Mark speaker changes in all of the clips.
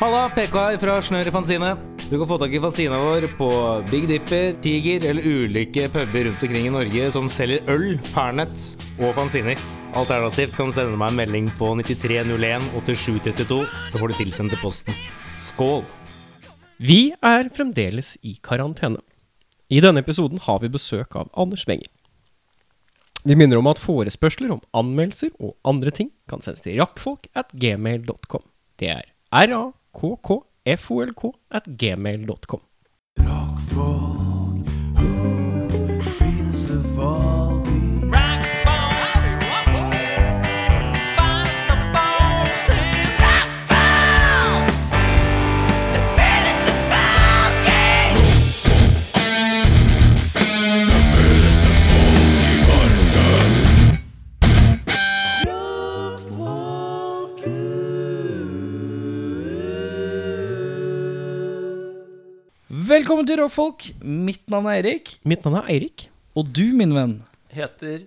Speaker 1: Halla, PK her fra Snør i Fanzine. Du kan få tak i fanzina vår på Big Dipper, Tiger eller ulike puber rundt omkring i Norge som selger øl, Fernet og fanziner. Alternativt kan du sende meg en melding på 9301 8732, så får du tilsendt til posten. Skål!
Speaker 2: Vi er fremdeles i karantene. I denne episoden har vi besøk av Anders Wenger. Vi minner om at forespørsler om anmeldelser og andre ting kan sendes til rakkfolk at gmail.com. Det er rakkfolk at gmail.com.
Speaker 3: Velkommen til Rockfolk. Mitt navn er Erik.
Speaker 2: Mitt navn er Eirik.
Speaker 3: Og du, min venn,
Speaker 4: heter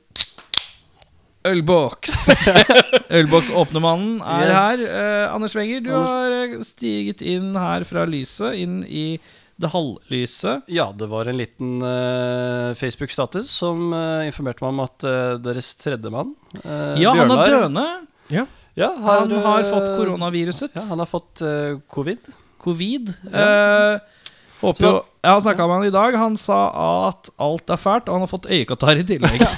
Speaker 3: Ølboks. Ølboks-åpnemannen er
Speaker 4: Yes.
Speaker 3: her. Eh, Anders Wenger, du har eh, stiget inn her fra lyset, inn i det halvlyset.
Speaker 4: Ja, det var en liten eh, Facebook-status som eh, informerte meg om at eh, deres tredjemann, uh,
Speaker 3: Ja, han er døende.
Speaker 4: ja, har,
Speaker 3: Han har
Speaker 4: eh,
Speaker 3: fått koronaviruset.
Speaker 4: Ja, han har fått eh, covid.
Speaker 3: Covid. Eh, håper jo Jeg har snakka med han i dag. Han sa at alt er fælt, og han har fått øyekatarr i tillegg.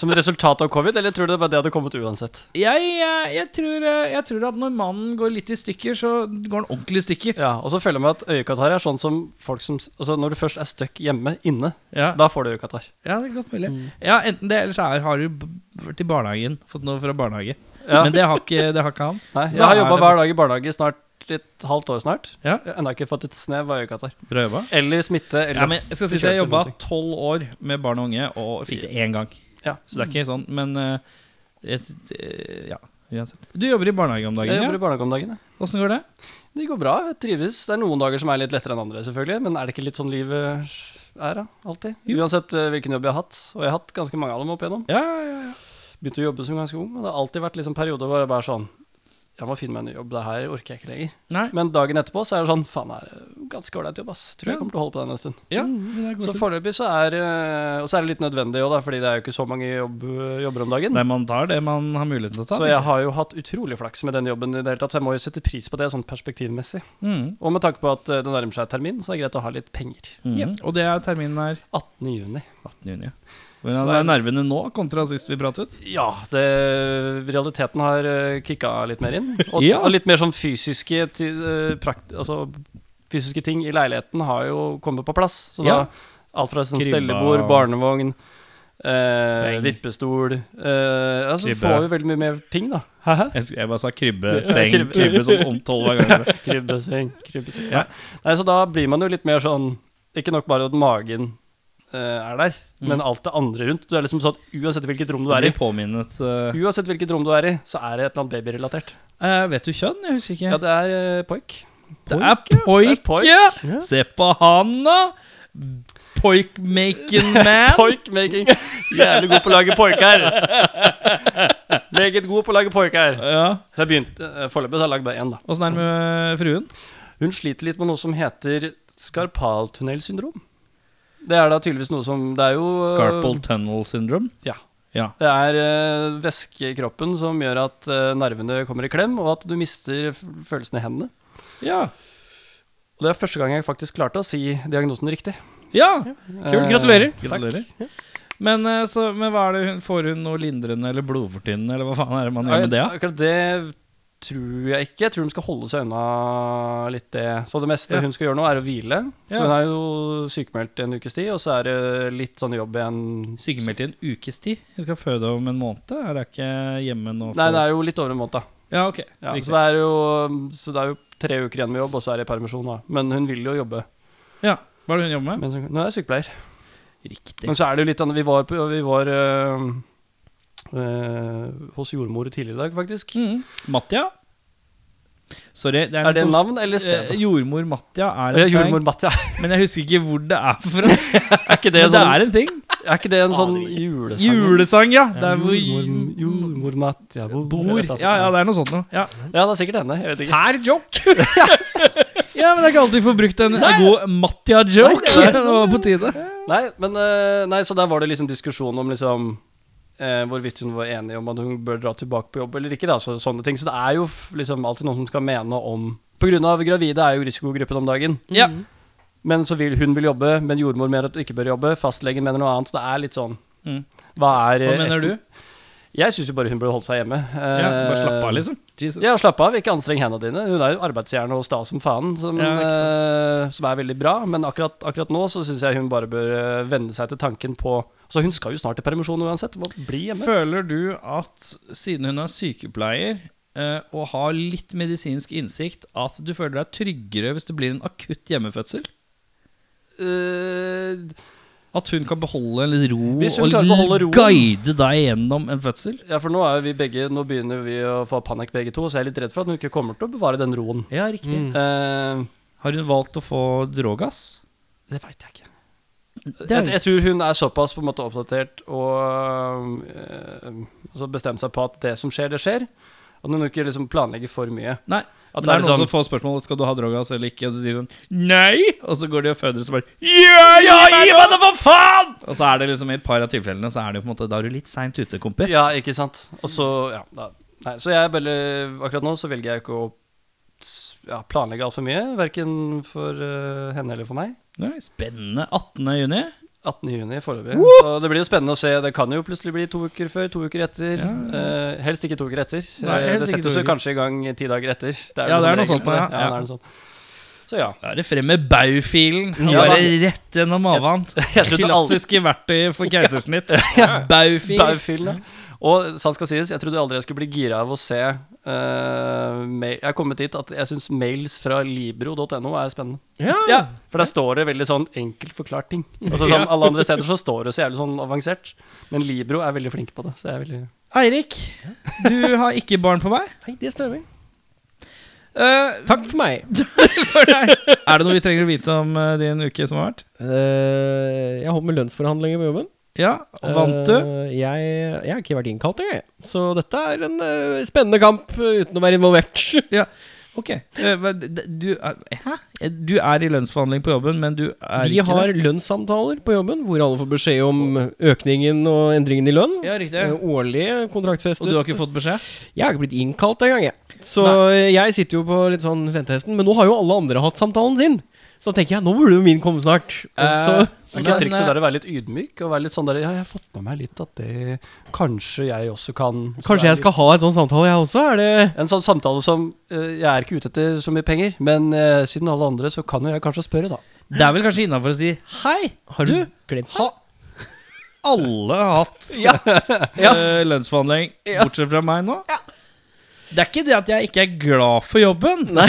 Speaker 4: Som et resultat av covid, eller tror du det var det hadde kommet uansett?
Speaker 3: Jeg, eh, jeg, tror, eh, jeg tror at når mannen går litt i stykker, så går han ordentlig i stykker.
Speaker 4: Ja, Og så føler jeg meg at øyekatarr er sånn som folk som Altså når du først er stuck hjemme inne,
Speaker 3: Ja.
Speaker 4: da får du øyekatarr.
Speaker 3: Ja, det er godt mulig. Ja, Enten det, eller så er, har du b- vært i barnehagen. Fått noe fra barnehage.
Speaker 4: Ja.
Speaker 3: Men det har, ikke, det har ikke han.
Speaker 4: Nei,
Speaker 3: Så
Speaker 4: jeg har
Speaker 3: da er
Speaker 4: jobba
Speaker 3: det-
Speaker 4: hver dag i barnehage i snart et halvt år snart.
Speaker 3: Ja.
Speaker 4: Jeg har ennå ikke fått et snev av øyekatarr.
Speaker 3: Bra jobba.
Speaker 4: Eller smitte, eller
Speaker 3: Ja, men jeg skal si at jeg
Speaker 4: forkjølelse eller
Speaker 3: jobba
Speaker 4: noe.
Speaker 3: tolv år med barn og unge, og fikk det én gang.
Speaker 4: Ja.
Speaker 3: Så det er ikke sånn, men eh, et, eh, Ja, uansett. Du jobber i barnehage om
Speaker 4: Jeg
Speaker 3: dagen, ja?
Speaker 4: jobber i barnehage om dagen, jeg.
Speaker 3: Åssen går det?
Speaker 4: Det går bra, jeg trives. Det er noen dager som er litt lettere enn andre, selvfølgelig. Men er det ikke litt sånn livet er, da? Alltid. Uansett eh, hvilken jobb jeg har hatt, og jeg har hatt ganske mange av dem opp igjennom.
Speaker 3: Ja, ja, ja.
Speaker 4: Begynte å jobbe som ganske ung, og det har alltid vært liksom perioder hvor jeg bare sånn Jeg må finne meg en ny jobb, det her orker jeg ikke lenger.
Speaker 3: Nei,
Speaker 4: Men dagen etterpå så er det sånn Faen, det er eh, ganske ålreit jobb, ass. Tror
Speaker 3: Ja.
Speaker 4: jeg kommer til å holde på den en stund.
Speaker 3: ja, men Mm, det er
Speaker 4: Så
Speaker 3: godt.
Speaker 4: foreløpig så er eh, Og så er det litt nødvendig òg, da, fordi det er jo ikke så mange jobb, jobber om dagen.
Speaker 3: Nei, man tar det man har muligheten til å ta.
Speaker 4: Så jeg har jo hatt utrolig flaks med den jobben i det hele tatt, så jeg må jo sette pris på det sånn perspektivmessig.
Speaker 3: Mm,
Speaker 4: Og med tanke på at eh, det nærmer seg termin, så er det greit å ha litt penger.
Speaker 3: mm. Og det er terminen her
Speaker 4: 18. juni.
Speaker 3: 18. juni. Hvordan
Speaker 4: Så
Speaker 3: er
Speaker 4: er-
Speaker 3: nervene nå kontra sist vi pratet?
Speaker 4: Ja, det, realiteten har eh, kicka litt mer inn. Og,
Speaker 3: Ja.
Speaker 4: og litt mer sånn fysiske, ti- eh, prakt, altså, fysiske ting i leiligheten har jo kommet på plass. Så da
Speaker 3: Ja.
Speaker 4: alt fra sånn
Speaker 3: Krybba.
Speaker 4: stellebord, barnevogn, eh,
Speaker 3: Seng.
Speaker 4: vippestol eh, altså,
Speaker 3: Krybbe.
Speaker 4: Får vi veldig mye mer ting, da.
Speaker 3: Jeg, skulle- jeg bare sa krybbe,
Speaker 4: Ja,
Speaker 3: seng,
Speaker 4: krybbe.
Speaker 3: krybbe sånn om tolv ganger.
Speaker 4: Krybbeseng, krybbeseng.
Speaker 3: Ja.
Speaker 4: Nei. Nei, så da blir man jo litt mer sånn Ikke nok bare at magen eh, er der,
Speaker 3: Mm.
Speaker 4: men alt det andre rundt. Du er liksom sånn Uansett hvilket rom du er i,
Speaker 3: Blir påminnet eh,
Speaker 4: Uansett hvilket rom du er i, så er det et eller annet babyrelatert.
Speaker 3: eh, Vet du kjønn? Jeg husker ikke.
Speaker 4: Ja, det er eh, poik.
Speaker 3: det er poik,
Speaker 4: Det er poik.
Speaker 3: ja! Se på han, da! Poik-making man.
Speaker 4: Poik-making. Jævlig god på å lage poik her. Meget god på å lage poik her.
Speaker 3: ja.
Speaker 4: Så jeg begynte eh, Foreløpig så har jeg lagd bare én, da.
Speaker 3: Åssen er det med fruen?
Speaker 4: Hun sliter litt med noe som heter skarpaltunnelsyndrom. Det er da tydeligvis noe som Det er jo eh,
Speaker 3: Scarpal tunnel syndrome.
Speaker 4: Ja.
Speaker 3: Ja.
Speaker 4: Det er eh, væske i kroppen som gjør at eh, nervene kommer i klem, og at du mister f følelsen i hendene.
Speaker 3: Ja.
Speaker 4: Og det er første gang jeg faktisk klarte å si diagnosen riktig.
Speaker 3: ja.
Speaker 4: Eh,
Speaker 3: Gratulerer. Men, eh, så, men hva er det hun, får hun noe lindrende eller blodfortynnende, eller hva faen er det man gjør med det? da?
Speaker 4: Eh, Akkurat det tror jeg ikke. Jeg tror de skal holde seg unna litt det. Så det meste
Speaker 3: Ja.
Speaker 4: hun skal gjøre nå, er å hvile.
Speaker 3: Ja.
Speaker 4: Så hun er jo sykemeldt en ukes tid, og så er det litt sånn jobb igjen.
Speaker 3: Sykemeldt i en ukes tid. Hun skal føde om en måned. Er hun ikke hjemme nå? for-
Speaker 4: Nei, det er jo litt over en måned, da.
Speaker 3: Ja, ok.
Speaker 4: Ja,
Speaker 3: Riktig.
Speaker 4: så, det er jo, så det er jo tre uker igjen med jobb, og så er det permisjon, da. Men hun vil jo jobbe.
Speaker 3: Ja. Hva er det hun jobber med?
Speaker 4: Mens hun, nå er jeg sykepleier.
Speaker 3: Riktig.
Speaker 4: Men så er det jo litt annet. Vi var, på, vi var øh, øh, hos jordmor tidligere i dag, faktisk.
Speaker 3: Mm. Mattia? Sorry, det er,
Speaker 4: Er det
Speaker 3: to-
Speaker 4: navn eller sted?
Speaker 3: Eh, jordmor Mattia er en
Speaker 4: Ja, jordmor Matt, ja.
Speaker 3: ting, men jeg husker ikke hvor det er fra.
Speaker 4: Er ikke
Speaker 3: Det men det
Speaker 4: det sånn
Speaker 3: er en ting.
Speaker 4: Er ikke det en sånn
Speaker 2: Aner
Speaker 4: julesang?
Speaker 3: Julesang, ja.
Speaker 4: Ja,
Speaker 3: Der hvor
Speaker 4: jordmor- Jordmormat ja, bor
Speaker 3: bor
Speaker 4: eller et
Speaker 3: Ja, ja,
Speaker 4: eller annet sånt.
Speaker 3: det er noe sånt noe. Ja.
Speaker 4: ja, det er sikkert henne. Jeg vet ikke.
Speaker 2: Sær joke!
Speaker 3: ja, men det er ikke alltid vi får brukt en god Mattia-joke.
Speaker 4: Nei, det er
Speaker 3: Det var på tide.
Speaker 4: Nei, men, eh, nei, så der var det liksom diskusjon om liksom eh, hvorvidt hun var enig om at hun bør dra tilbake på jobb eller ikke. Da, så, sånne ting. Så det er jo f- liksom alltid noen som skal mene om På grunn av gravide er jo risikogruppen om dagen.
Speaker 3: Ja.
Speaker 4: Men så vil hun vil jobbe, men jordmor mener at du ikke bør jobbe. Fastlegen mener noe annet. Så det er litt sånn
Speaker 3: Mm.
Speaker 4: Hva er
Speaker 3: Hva
Speaker 4: eh,
Speaker 3: mener du?
Speaker 4: Jeg syns jo bare hun burde holdt seg hjemme.
Speaker 3: Ja,
Speaker 4: Eh,
Speaker 3: bare slapp av, liksom. Jesus.
Speaker 4: Ja, slapp av. Ikke anstreng hendene dine. Hun er jo arbeidsjern og sta som faen, som,
Speaker 3: Ja, ikke
Speaker 4: eh, som er veldig bra. Men akkurat, akkurat nå så syns jeg hun bare bør eh, venne seg til tanken på Så hun skal jo snart i permisjon uansett. Hva bli hjemme?
Speaker 3: Føler du at siden hun er sykepleier eh, og har litt medisinsk innsikt, at du føler deg tryggere hvis det blir en akutt hjemmefødsel?
Speaker 4: Eh,
Speaker 3: At hun kan beholde en ro
Speaker 4: Hvis hun
Speaker 3: og
Speaker 4: klarer å beholde roen.
Speaker 3: guide deg gjennom en fødsel?
Speaker 4: ja, for nå er jo vi begge Nå begynner vi å få panikk begge to, så jeg er litt redd for at hun ikke kommer til å bevare den roen.
Speaker 3: Ja, riktig.
Speaker 4: Eh,
Speaker 3: Har hun valgt å få drogass?
Speaker 4: det veit jeg ikke.
Speaker 3: Det
Speaker 4: Jeg,
Speaker 3: er-
Speaker 4: jeg tror hun er såpass på en måte oppdatert og eh, altså bestemt seg på at det som skjer, det skjer. At hun ikke liksom planlegger for mye.
Speaker 3: Nei.
Speaker 4: At
Speaker 3: Men det er noen som får spørsmål Skal du ha drogas eller ikke, og så sier de sånn Nei! Og så går de og føder, og så bare Ja, ja, gi meg det, for faen! Og så er det liksom i et par av tilfellene Så er det jo på en måte Da er du litt seint ute, kompis.
Speaker 4: Ja, ikke sant. Og så, ja, da, nei, så jeg bare, akkurat nå så velger jeg ikke å s- ja, planlegge altfor mye, verken for eh, henne eller for meg.
Speaker 3: Nei, spennende. 18. juni.
Speaker 4: 18. juni foreløpig. Så det blir jo spennende å se. Det kan jo plutselig bli to uker før, to uker etter. Eh, helst ikke to uker etter.
Speaker 3: Nei,
Speaker 4: Eh,
Speaker 3: helst
Speaker 4: det
Speaker 3: ikke to
Speaker 4: settes jo
Speaker 3: uker.
Speaker 4: kanskje i gang ti dager etter.
Speaker 3: Ja, det
Speaker 4: vel
Speaker 3: er
Speaker 4: som
Speaker 3: noe sånt, ja,
Speaker 4: regel. ja,
Speaker 3: ja.
Speaker 4: det er noe sånt. Så ja.
Speaker 3: Da er det frem med baufilen.
Speaker 4: Ja,
Speaker 3: bare
Speaker 4: da.
Speaker 3: rett gjennom maven.
Speaker 4: Jeg trodde aldri
Speaker 3: Klassiske verktøy for keisersnitt. Baufil.
Speaker 4: Baufil, ja. Og sant skal sies, jeg trodde aldri jeg skulle bli gira av å se eh, mail. Jeg er kommet dit at jeg syns mails fra libro.no er spennende.
Speaker 3: Ja.
Speaker 4: For der står det veldig sånn enkelt forklart ting. Altså som Alle andre steder så står det så jævlig sånn avansert. Men Libro er veldig flinke på det. Så jeg er veldig
Speaker 3: Eirik, du har ikke barn på vei.
Speaker 2: Nei, det stemmer.
Speaker 3: Eh,
Speaker 2: Takk for meg.
Speaker 3: for deg. Er det noe vi trenger å vite om eh, din uke som har vært?
Speaker 2: Eh, jeg holdt med lønnsforhandlinger på jobben.
Speaker 3: Ja, og vant du?
Speaker 2: Eh, jeg, jeg har ikke vært innkalt, jeg. Så dette er en eh, spennende kamp eh, uten å være involvert.
Speaker 3: Ok. Eh, hva- d- d- Du er, hæ? Eh, du er i lønnsforhandling på jobben, men du er
Speaker 2: Vi
Speaker 3: ikke
Speaker 2: har
Speaker 3: det?
Speaker 2: lønnssamtaler på jobben hvor alle får beskjed om økningen og endringen i lønn.
Speaker 3: Ja, riktig.
Speaker 2: Eh, Årlig kontraktfestet.
Speaker 3: Og du har ikke fått beskjed?
Speaker 2: Jeg har ikke blitt innkalt engang, jeg. Så jeg sitter jo på litt sånn ventehesten. Men nå har jo alle andre hatt samtalen sin. Så da tenker jeg nå burde jo min komme snart. Og så
Speaker 3: Eh,
Speaker 4: Er
Speaker 3: Men,
Speaker 4: ikke trikset
Speaker 3: eh,
Speaker 4: der å være litt ydmyk? Og være litt sånn der Ja, jeg har fått med meg litt at det Kanskje jeg også kan Så det
Speaker 2: kanskje
Speaker 4: er
Speaker 2: jeg skal ha et sånn samtale, jeg også? Er det
Speaker 4: litt- En sånn samtale som eh, Jeg er ikke ute etter så mye penger, men eh, siden alle andre, så kan jo jeg kanskje spørre, da.
Speaker 3: Det er vel kanskje innafor å si hei,
Speaker 2: Har du,
Speaker 3: du?
Speaker 2: glemt det?
Speaker 3: Ha alle har hatt eh, lønnsforhandling, bortsett fra meg nå. Det er ikke det at jeg ikke er glad for jobben,
Speaker 2: Nei.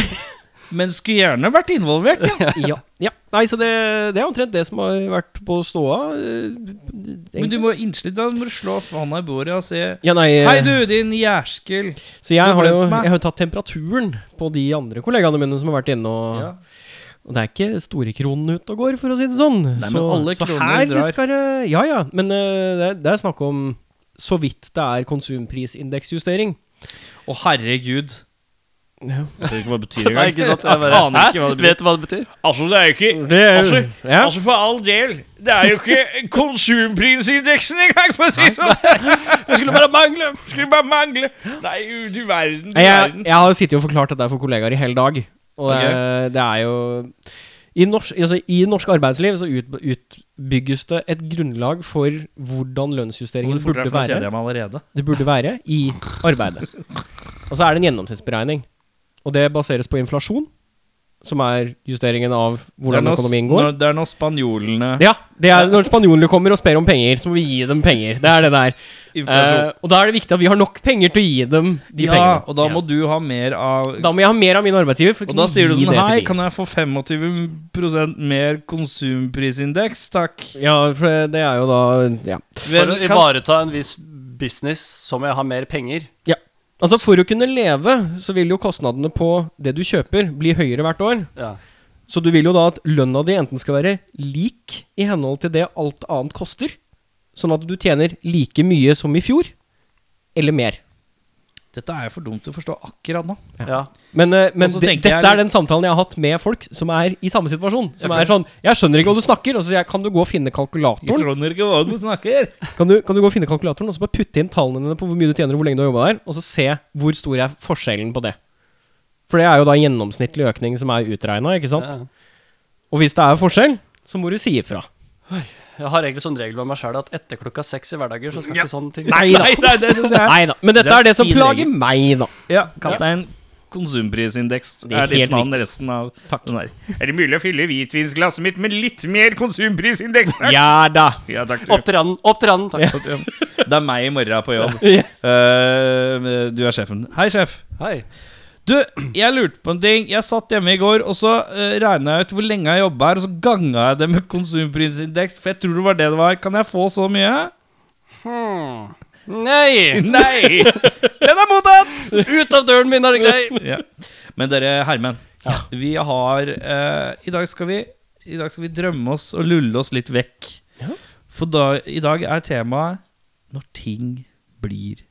Speaker 3: men skulle gjerne vært involvert. Ja.
Speaker 2: ja, ja. Nei, så det, det er omtrent det som har vært på ståa. eh,
Speaker 3: Men du
Speaker 2: egentlig.
Speaker 3: må innslitt, da må du slå hånda i bordet og si
Speaker 2: ja, nei, eh,
Speaker 3: Hei, du, din jærskel.
Speaker 2: Så jeg har jo
Speaker 3: glemte meg.
Speaker 2: jeg har jo tatt temperaturen på de andre kollegaene mine som har vært inne. Og,
Speaker 3: Ja.
Speaker 2: og det er ikke store kronene ut og går, for å si det sånn.
Speaker 3: men
Speaker 2: så,
Speaker 3: alle
Speaker 2: så
Speaker 3: kroner
Speaker 2: her
Speaker 3: drar.
Speaker 2: skal det Ja ja, men eh, det, er, det er snakk om så vidt det er konsumprisindeksjustering.
Speaker 3: Å, herregud.
Speaker 2: Ja.
Speaker 3: Jeg vet ikke hva det betyr
Speaker 4: Nei, ikke sant? Jeg bare,
Speaker 3: aner ikke hva det
Speaker 4: Hæ? Vet du hva det betyr?
Speaker 5: Altså, det er jo ikke
Speaker 2: Det er,
Speaker 5: Altså,
Speaker 2: ja.
Speaker 5: Altså, for all del. Det er jo ikke konsumprisindeksen engang, for å si det sånn.
Speaker 4: Det skulle bare mangle!
Speaker 5: Skulle bare mangle. Nei, du verden, du
Speaker 2: Nei, jeg,
Speaker 5: verden.
Speaker 2: jeg har jo sittet og forklart dette for kollegaer i hele dag. Og det, er- det er jo i norsk, altså, I norsk arbeidsliv så ut, utbygges det et grunnlag for hvordan lønnsjusteringen burde være.
Speaker 3: jeg meg allerede.
Speaker 2: det burde være i arbeidet. Og så er det en gjennomsnittsberegning. Og det baseres på inflasjon, som er justeringen av hvordan
Speaker 3: det er når-
Speaker 2: økonomien går.
Speaker 3: når- Det er når spanjolene
Speaker 2: Ja, det er når spanjolene kommer og spør om penger, så må vi gi dem penger. Det er det der.
Speaker 3: Inflasjon.
Speaker 2: Eh, og da er det viktig at vi har nok penger til å gi dem de
Speaker 3: ja,
Speaker 2: pengene.
Speaker 3: og da må du ha mer av
Speaker 2: Da må jeg ha mer av min arbeidsgiver. For å
Speaker 3: Og da
Speaker 2: kunne
Speaker 3: sier du
Speaker 2: gi
Speaker 3: sånn
Speaker 2: det til
Speaker 3: Hei,
Speaker 2: de."
Speaker 3: kan jeg få 25 mer konsumprisindeks, takk?
Speaker 2: Ja, for det er jo da Ja.
Speaker 4: For å
Speaker 3: Vel, kan,
Speaker 4: ivareta en viss business så må jeg ha mer penger.
Speaker 2: Altså, for å kunne leve, så vil jo kostnadene på det du kjøper, bli høyere hvert år.
Speaker 4: Ja.
Speaker 2: Så du vil jo da at lønna di enten skal være lik i henhold til det alt annet koster, sånn at du tjener like mye som i fjor, eller mer.
Speaker 3: Dette er for dumt til å forstå akkurat nå.
Speaker 4: Ja.
Speaker 2: Men, eh, men
Speaker 3: Og så
Speaker 2: det,
Speaker 3: tenker
Speaker 2: dette
Speaker 3: jeg
Speaker 2: er
Speaker 3: litt-
Speaker 2: den samtalen jeg har hatt med folk som er i samme situasjon. Som
Speaker 3: Ja,
Speaker 2: er sånn 'Jeg skjønner ikke hva du snakker.' Og så sier jeg 'Kan du gå og finne kalkulatoren?'
Speaker 3: skjønner ikke hva du snakker.
Speaker 2: Kan du, kan du gå og finne kalkulatoren Og så bare putte inn tallene dine på hvor mye du tjener og hvor lenge du har jobba der, og så se hvor stor er forskjellen på det. For det er jo da en gjennomsnittlig økning som er utregna, ikke sant?
Speaker 4: Ja.
Speaker 2: Og hvis det er forskjell, så må du si ifra.
Speaker 4: Jeg har egentlig sånn regel med meg sjøl at etter klokka seks i hverdager så skal ikke sånne ting
Speaker 2: Nei da.
Speaker 3: nei, det synes jeg.
Speaker 2: Nei da. Men dette
Speaker 3: Det er
Speaker 2: er det som
Speaker 3: fin
Speaker 2: plager
Speaker 3: regel.
Speaker 2: meg, da.
Speaker 3: Ja, Kaptein Konsumprisindeks
Speaker 2: Det er
Speaker 3: er ditt
Speaker 2: helt
Speaker 3: navn resten av
Speaker 2: Takk.
Speaker 3: den her.
Speaker 5: Er det mulig å fylle hvitvinsglasset mitt med litt mer konsumprisindeks? Takk.
Speaker 2: Ja da.
Speaker 5: Ja, takk.
Speaker 4: Opp til randen, opp til randen. Takk.
Speaker 3: Det er meg i morgen på jobb.
Speaker 2: Ja.
Speaker 3: Eh, du er sjefen. Hei, sjef.
Speaker 4: Hei.
Speaker 3: Du, jeg lurte på en ting. Jeg satt hjemme i går, og så uh, regna jeg ut hvor lenge jeg jobba her, og så ganga jeg det med konsumprisindeks, for jeg tror det var det det var. Kan jeg få så mye?
Speaker 4: Hmm. Nei!
Speaker 3: Nei! Den er mottatt!
Speaker 4: Ut av døren min er det grei!
Speaker 3: ja. Men dere, Hermen. Vi har eh, i, dag skal vi, I dag skal vi drømme oss og lulle oss litt vekk. For da, i dag er temaet 'Når ting blir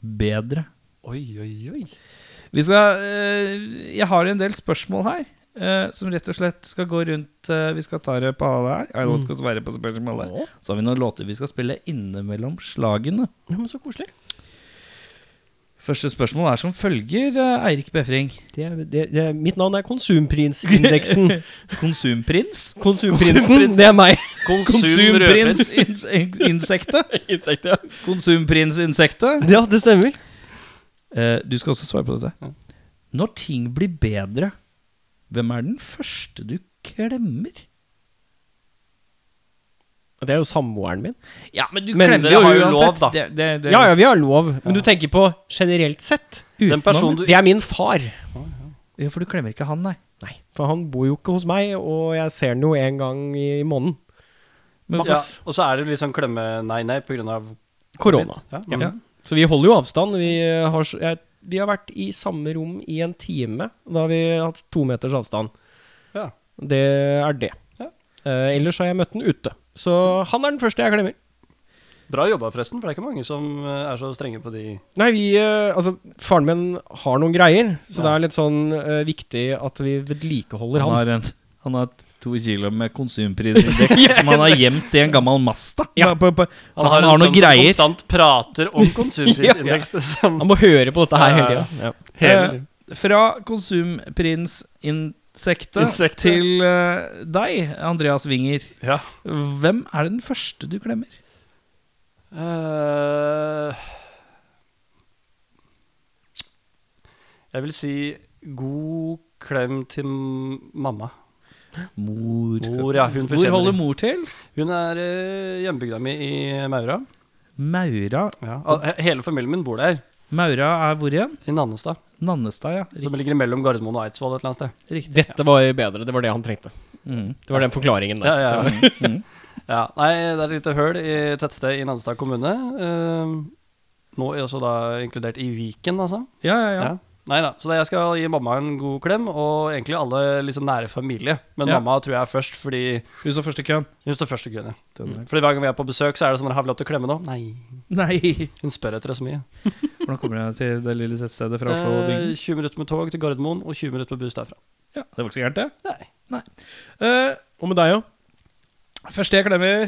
Speaker 3: bedre'.
Speaker 4: Oi, oi, oi.
Speaker 3: Vi skal, eh, jeg har en del spørsmål her. eh, som rett og slett skal gå rundt eh, Vi skal ta det på alle her. Alle
Speaker 4: Mm.
Speaker 3: skal svare på spørsmålet. Så har vi noen låter vi skal spille innimellom slagene.
Speaker 2: Ja, men så koselig.
Speaker 3: Første spørsmål er som følger, eh, Eirik Befring.
Speaker 2: Det er, det, det er, mitt navn er Konsumprisindeksen.
Speaker 3: Konsumprins?
Speaker 2: Konsumprinsen, det er meg.
Speaker 4: Konsum rødprins.
Speaker 3: Konsumprinsinsektet. Konsumprinsinsektet.
Speaker 2: Ja, det stemmer.
Speaker 3: Eh, du skal også svare på dette. Når ting blir bedre, hvem er den første du klemmer?
Speaker 2: Det er jo samboeren min.
Speaker 3: Ja, men du
Speaker 4: Men dere har jo lov, da.
Speaker 3: Det, det, det,
Speaker 2: Ja, ja, vi har lov. Men du tenker på generelt sett.
Speaker 4: Den personen du
Speaker 2: Det er min far.
Speaker 3: Ja, For du klemmer ikke han, nei.
Speaker 2: Nei, for han bor jo ikke hos meg, og jeg ser han jo en gang i i måneden.
Speaker 4: ja, Og så er det litt sånn klemme-nei-nei på grunn av
Speaker 2: Korona.
Speaker 4: Ja. Mm.
Speaker 2: Ja.
Speaker 3: Ja.
Speaker 2: Så vi holder jo avstand. Vi eh, har, s- jeg, vi har vært i samme rom i en time. Da har vi hatt to meters avstand.
Speaker 4: Ja.
Speaker 2: Det er det.
Speaker 4: Ja.
Speaker 2: Eh, ellers har jeg møtt den ute. Så han er den første jeg klemmer.
Speaker 4: Bra jobba, forresten, for det er ikke mange som eh, er så strenge på de
Speaker 2: Nei, vi eh, Altså, faren min har noen greier, så det er litt sånn eh, viktig at vi vedlikeholder
Speaker 3: Han
Speaker 2: han.
Speaker 3: har, en, han har to kilo med konsumprisindeks som han har gjemt i en gammel Masta.
Speaker 2: Ja.
Speaker 3: På, på, så han har,
Speaker 4: en
Speaker 3: noen
Speaker 4: som
Speaker 3: greier.
Speaker 4: konstant prater om konsumprisindeks.
Speaker 2: Han må høre på dette her hele
Speaker 4: Ja, ja.
Speaker 2: tida. Ja.
Speaker 4: Hele
Speaker 3: Eh,
Speaker 4: livet.
Speaker 3: fra konsumprins-insektet
Speaker 4: Insektet.
Speaker 3: til eh, deg, Andreas Winger.
Speaker 4: Ja.
Speaker 3: Hvem er den første du klemmer?
Speaker 4: Eh, jeg vil si god klem til m- mamma.
Speaker 3: Mor.
Speaker 4: Mor, ja. Hun
Speaker 3: Hvor
Speaker 4: fortjener
Speaker 3: holder
Speaker 4: det.
Speaker 3: mor til?
Speaker 4: Hun er eh, hjembygda mi i Maura.
Speaker 3: Maura.
Speaker 4: Ja. al- he- Hele familien min bor der,
Speaker 3: Maura er hvor igjen?
Speaker 4: i Nannestad.
Speaker 3: Nannestad, ja. Riktig.
Speaker 4: Som ligger mellom Gardermoen og Eidsvoll et eller annet sted.
Speaker 2: Dette var bedre. Det var det han trengte.
Speaker 3: Mm.
Speaker 2: Det var den forklaringen
Speaker 4: Ja,
Speaker 2: der.
Speaker 4: ja, ja.
Speaker 3: Mm.
Speaker 4: Ja, nei, det er et lite høl i et tettsted i Nannestad kommune. Ehm, nå er også da inkludert i Viken, altså.
Speaker 3: Ja, ja, ja.
Speaker 4: Ja. Nei da, så da jeg skal gi mamma en god klem, og egentlig alle liksom nære familie. Men
Speaker 3: Ja.
Speaker 4: mamma tror jeg er først, fordi
Speaker 3: Hun står først i køen.
Speaker 4: hun står først i køen. ja.
Speaker 3: Den der.
Speaker 4: Fordi hver gang vi er på besøk, så er det sånn Har vi lov til å klemme nå? Nei.
Speaker 3: Nei!
Speaker 4: Hun spør etter det så mye.
Speaker 3: Hvordan kommer jeg til det lille tettstedet fra Oslo? og
Speaker 4: Eh,
Speaker 3: bygden?
Speaker 4: 20 minutter med tog til Gardermoen, og 20 minutter med buss derfra.
Speaker 3: Ja, det var ikke så gærent, det.
Speaker 4: Nei.
Speaker 3: Eh,
Speaker 2: Og med deg òg.
Speaker 3: første jeg klemmer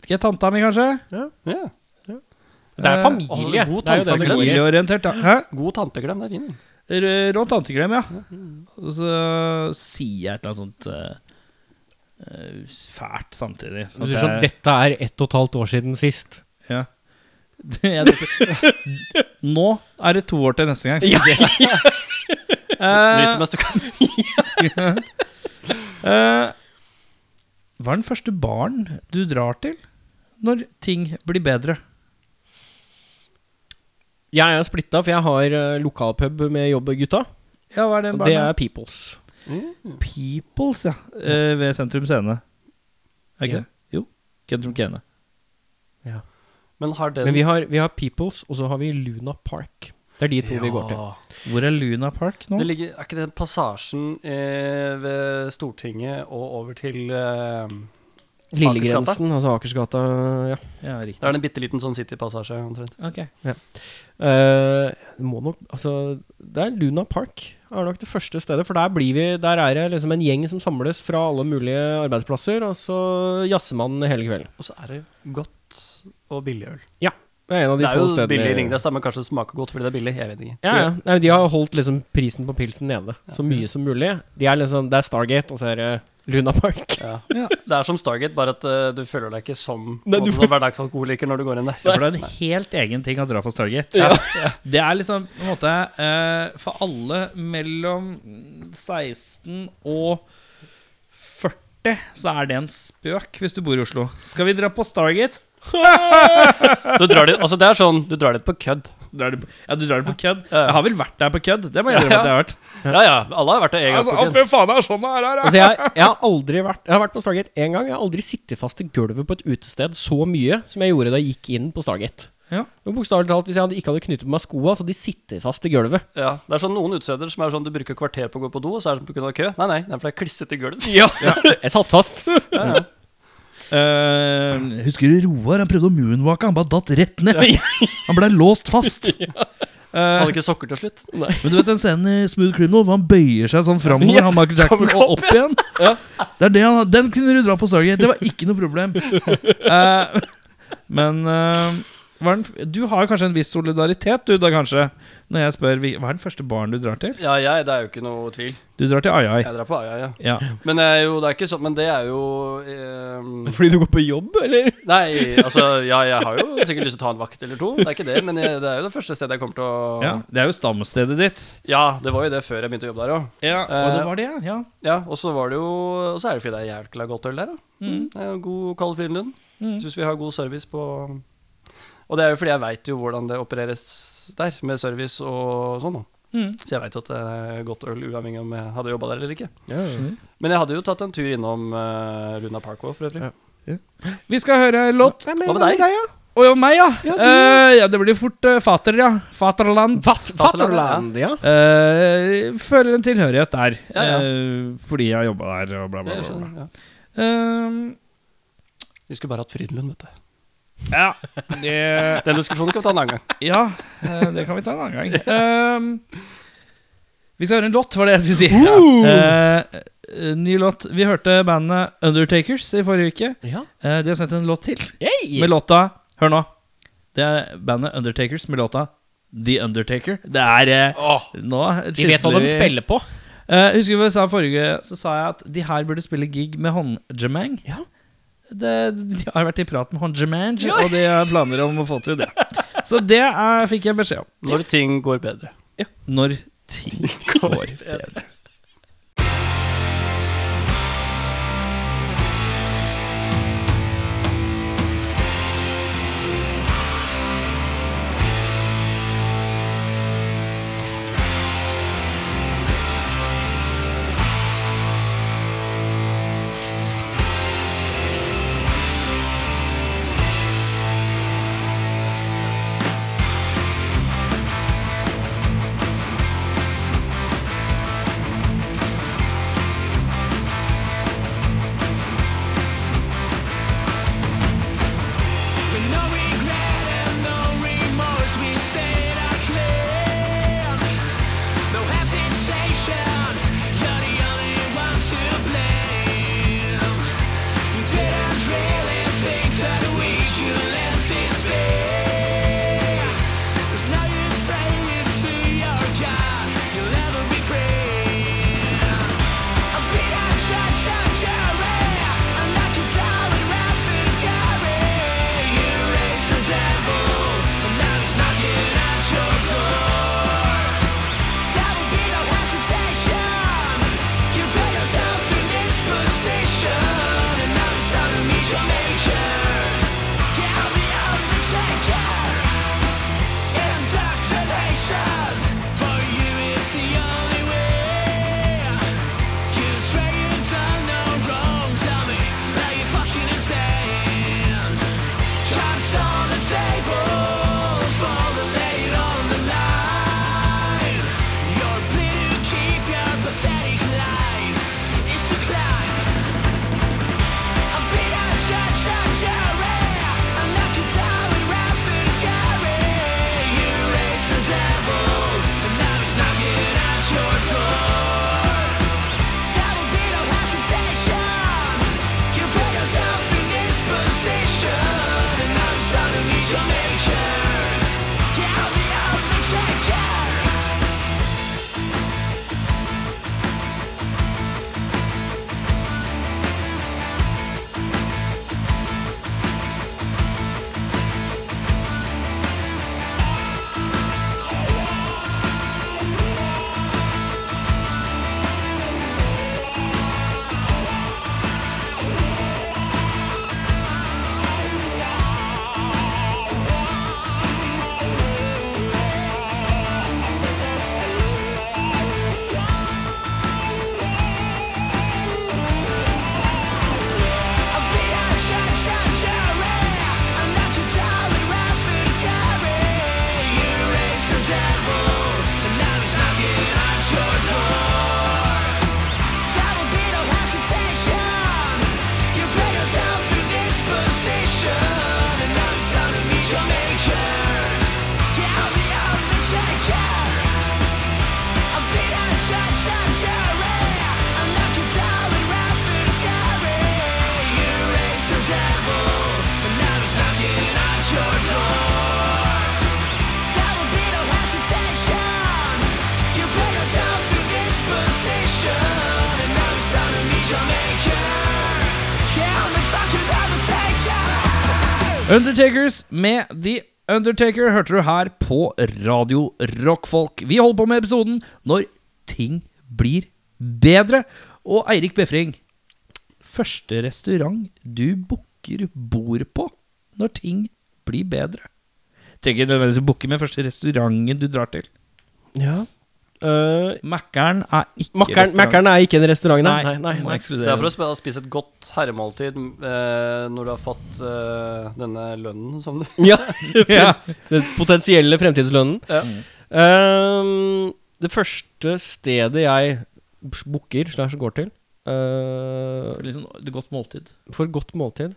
Speaker 3: Vet ikke, tanta mi, kanskje?
Speaker 4: Ja.
Speaker 2: Det er
Speaker 3: Eh,
Speaker 4: altså,
Speaker 2: familie.
Speaker 4: god
Speaker 2: det er jo det det går i.
Speaker 3: Familieorientert, ja. Hæ?
Speaker 4: God tanteklem, det er fint.
Speaker 3: R- Rå tanteklem, ja. Og så sier jeg et eller annet sånt eh, eh, fælt samtidig.
Speaker 2: Du sier sånn
Speaker 3: jeg-
Speaker 2: Dette er ett og et halvt år siden sist.
Speaker 3: ja. Jeg dette- Nå er det to år til neste gang. Ja,
Speaker 4: Nyt det mens du kan.
Speaker 3: hva er den første baren du drar til når ting blir bedre?
Speaker 2: Jeg er splitta, for jeg har eh, lokalpub med jobbgutta.
Speaker 3: Ja, hva er den
Speaker 2: Og
Speaker 3: baren?
Speaker 2: det
Speaker 3: da?
Speaker 2: er Peoples.
Speaker 3: Peoples, ja. Eh, ved Sentrum Scene. Er ikke
Speaker 2: Ja.
Speaker 3: det? Jo. Sentrum Scene.
Speaker 4: Men har den
Speaker 2: Men vi har, vi har Peoples, og så har vi Luna Park. Det er de to vi går til.
Speaker 3: Hvor er Luna Park nå?
Speaker 4: Det ligger, er ikke den passasjen eh, ved Stortinget og over til eh,
Speaker 2: Lillegrensen, altså Akersgata. Ja.
Speaker 3: Ja, riktig.
Speaker 4: Det er en bitte liten sånn citypassasje, omtrent.
Speaker 3: Ok.
Speaker 2: Eh, det må nok Altså, det er Luna Park er nok det første stedet. For der blir vi Der er det liksom en gjeng som samles fra alle mulige arbeidsplasser, og så jazzer man hele kvelden.
Speaker 4: Og så er det godt og billig øl.
Speaker 2: Det er en av de
Speaker 4: det er
Speaker 2: få
Speaker 4: jo
Speaker 2: stedene
Speaker 4: billig ring, det stemmer kanskje det smaker godt fordi det er billig, jeg vet ikke.
Speaker 2: Ja, ja. Nei, men de har holdt liksom prisen på pilsen nede så mye som mulig. De er liksom, det er Stargate, og så er det Luna Park.
Speaker 4: Ja. Det er som Stargate, bare at eh, du føler deg ikke som
Speaker 2: Nei,
Speaker 4: på en
Speaker 2: du-
Speaker 4: måte som hverdagsalkoholiker når du går inn der.
Speaker 3: Ja, for det er en helt egen ting å dra på Stargate. Det er liksom på en måte eh, For alle mellom 16 og 40 så er det en spøk hvis du bor i Oslo. Skal vi dra på Stargate?
Speaker 4: Du drar dit, altså det er sånn, du drar dit på kødd.
Speaker 3: Drar du på, ja, du drar det på kødd.
Speaker 4: Ja.
Speaker 3: Jeg har vel vært der på kødd. Det må jeg innrømme at jeg har vært.
Speaker 4: Ja ja, alle har vært der en gang
Speaker 3: Altså,
Speaker 4: på kødd.
Speaker 3: Hvem faen er sånn her? her,
Speaker 2: Altså, jeg, jeg har aldri vært Jeg har vært på Stargate én gang. Jeg har aldri sittet fast i gulvet på et utested så mye som jeg gjorde da jeg gikk inn på Stargate.
Speaker 3: Ja.
Speaker 2: Og Bokstavelig talt, hvis jeg hadde ikke hadde knyttet på meg skoa, så hadde de sittet fast i gulvet.
Speaker 4: Ja, det er sånn noen utesteder som er sånn du bruker kvarter på å gå på do, og så er det pga. kø. Nei, nei, det er fordi det er klissete gulv.
Speaker 2: Jeg satt fast.
Speaker 3: Eh, husker du Roar? Han prøvde å moonwalke. Han bare datt rett ned. Han ble låst fast. Eh,
Speaker 4: Hadde ikke sokker til slutt.
Speaker 3: Men du vet den scenen i Smooth Criminal hvor han bøyer seg sånn framover, han Michael Jackson, og opp igjen? Det er det han, den kunne du dra på Stargate. Det var ikke noe problem. Eh, men eh, hva er den, du har kanskje en viss solidaritet, du da, kanskje? Når jeg spør vi- hva er den første baren du drar til?
Speaker 4: Ja, jeg, det er jo ikke noe tvil.
Speaker 3: Du drar til Ai-Ai.
Speaker 4: Jeg drar på Aja, ja.
Speaker 3: Ja.
Speaker 4: Men, jeg er jo, det er ikke sånn, men det er jo ehm,
Speaker 2: Fordi du går på jobb, eller?
Speaker 4: Nei, altså ja, jeg har jo sikkert lyst til å ta en vakt eller to. Det er ikke det, men jeg, det er jo det første stedet jeg kommer til å
Speaker 3: ja. Det er jo stamstedet ditt. Eh.
Speaker 4: Ja, det var jo det før jeg begynte å jobbe der òg.
Speaker 3: Ja, og det var det, ja.
Speaker 4: Ja, og så var det jo Og så er det fordi det er jækla godt øl der, da.
Speaker 3: Mm.
Speaker 4: Det er jo God Kald Frydenlund.
Speaker 3: Mm.
Speaker 4: Syns vi har god service på Og det er jo fordi jeg veit jo hvordan det opereres der, med service og sånn, da.
Speaker 3: Mm.
Speaker 4: Så jeg veit at det er godt øl, uavhengig om jeg hadde jobba der eller ikke.
Speaker 2: Ja.
Speaker 4: Men jeg hadde jo tatt en tur innom eh, Luna Park òg, for øvrig.
Speaker 2: Ja.
Speaker 3: Vi skal høre en låt.
Speaker 4: Hva med deg?
Speaker 3: Og meg, ja. Eh, ja. Det blir fort eh, Fater, ja. Faterland.
Speaker 2: Fatterland, ja.
Speaker 3: Eh, føler en tilhørighet der,
Speaker 4: Ja, ja.
Speaker 3: eh, fordi jeg har jobba der og bla, bla,
Speaker 4: Jeg
Speaker 3: bla. bla.
Speaker 4: skjønner, ja.
Speaker 3: Eh,
Speaker 4: Vi skulle bare hatt Frydenlund, vet du.
Speaker 3: ja, det,
Speaker 4: Den diskusjonen kan vi ta en annen gang.
Speaker 3: ja eh, det kan vi ta en annen gang. Eh, vi skal høre en låt, var det jeg skulle si. Uh! Ja. Eh, eh, ny låt. Vi hørte bandet Undertakers i forrige uke.
Speaker 2: Ja.
Speaker 3: Eh, de har sendt en låt til med låta Hør nå. Det er bandet Undertakers med låta The Undertaker. Det er eh, Nå
Speaker 2: De vet hva
Speaker 3: skisler
Speaker 2: de
Speaker 3: vi-
Speaker 2: spiller på.
Speaker 3: Eh, husker du hva jeg sa forrige Så sa jeg at de her burde spille gig med håndjamang.
Speaker 2: Ja.
Speaker 3: Det, de har vært i prat med håndjamang, og de har planer om å få til det. Så det eh, fikk jeg beskjed om.
Speaker 4: Når ting går bedre.
Speaker 3: Når ting går bedre.
Speaker 6: Når
Speaker 3: Undertakers med The Undertaker hørte du her på Radio Rockfolk. Vi holder på med episoden Når ting blir bedre. Og Eirik Befring, første restaurant du booker bord på når ting blir bedre? Trenger ikke nødvendigvis å booke med første restauranten du drar til.
Speaker 2: Ja. Uh,
Speaker 3: Mækkern er ikke
Speaker 2: Makkeren
Speaker 3: restaurant.
Speaker 2: Makkeren er ikke en restaurant, nei. nei,
Speaker 3: Nei,
Speaker 2: nei,
Speaker 3: må
Speaker 2: nei.
Speaker 3: ekskludere
Speaker 4: Det er for
Speaker 3: den.
Speaker 4: å spe- spise et godt herremåltid eh, når du har fått eh, denne lønnen som du
Speaker 2: Ja,
Speaker 3: Ja.
Speaker 2: Den potensielle fremtidslønnen.
Speaker 4: Ja.
Speaker 2: Ehm, det første stedet jeg booker slash går til eh,
Speaker 3: Liksom, det er godt måltid.
Speaker 2: for godt måltid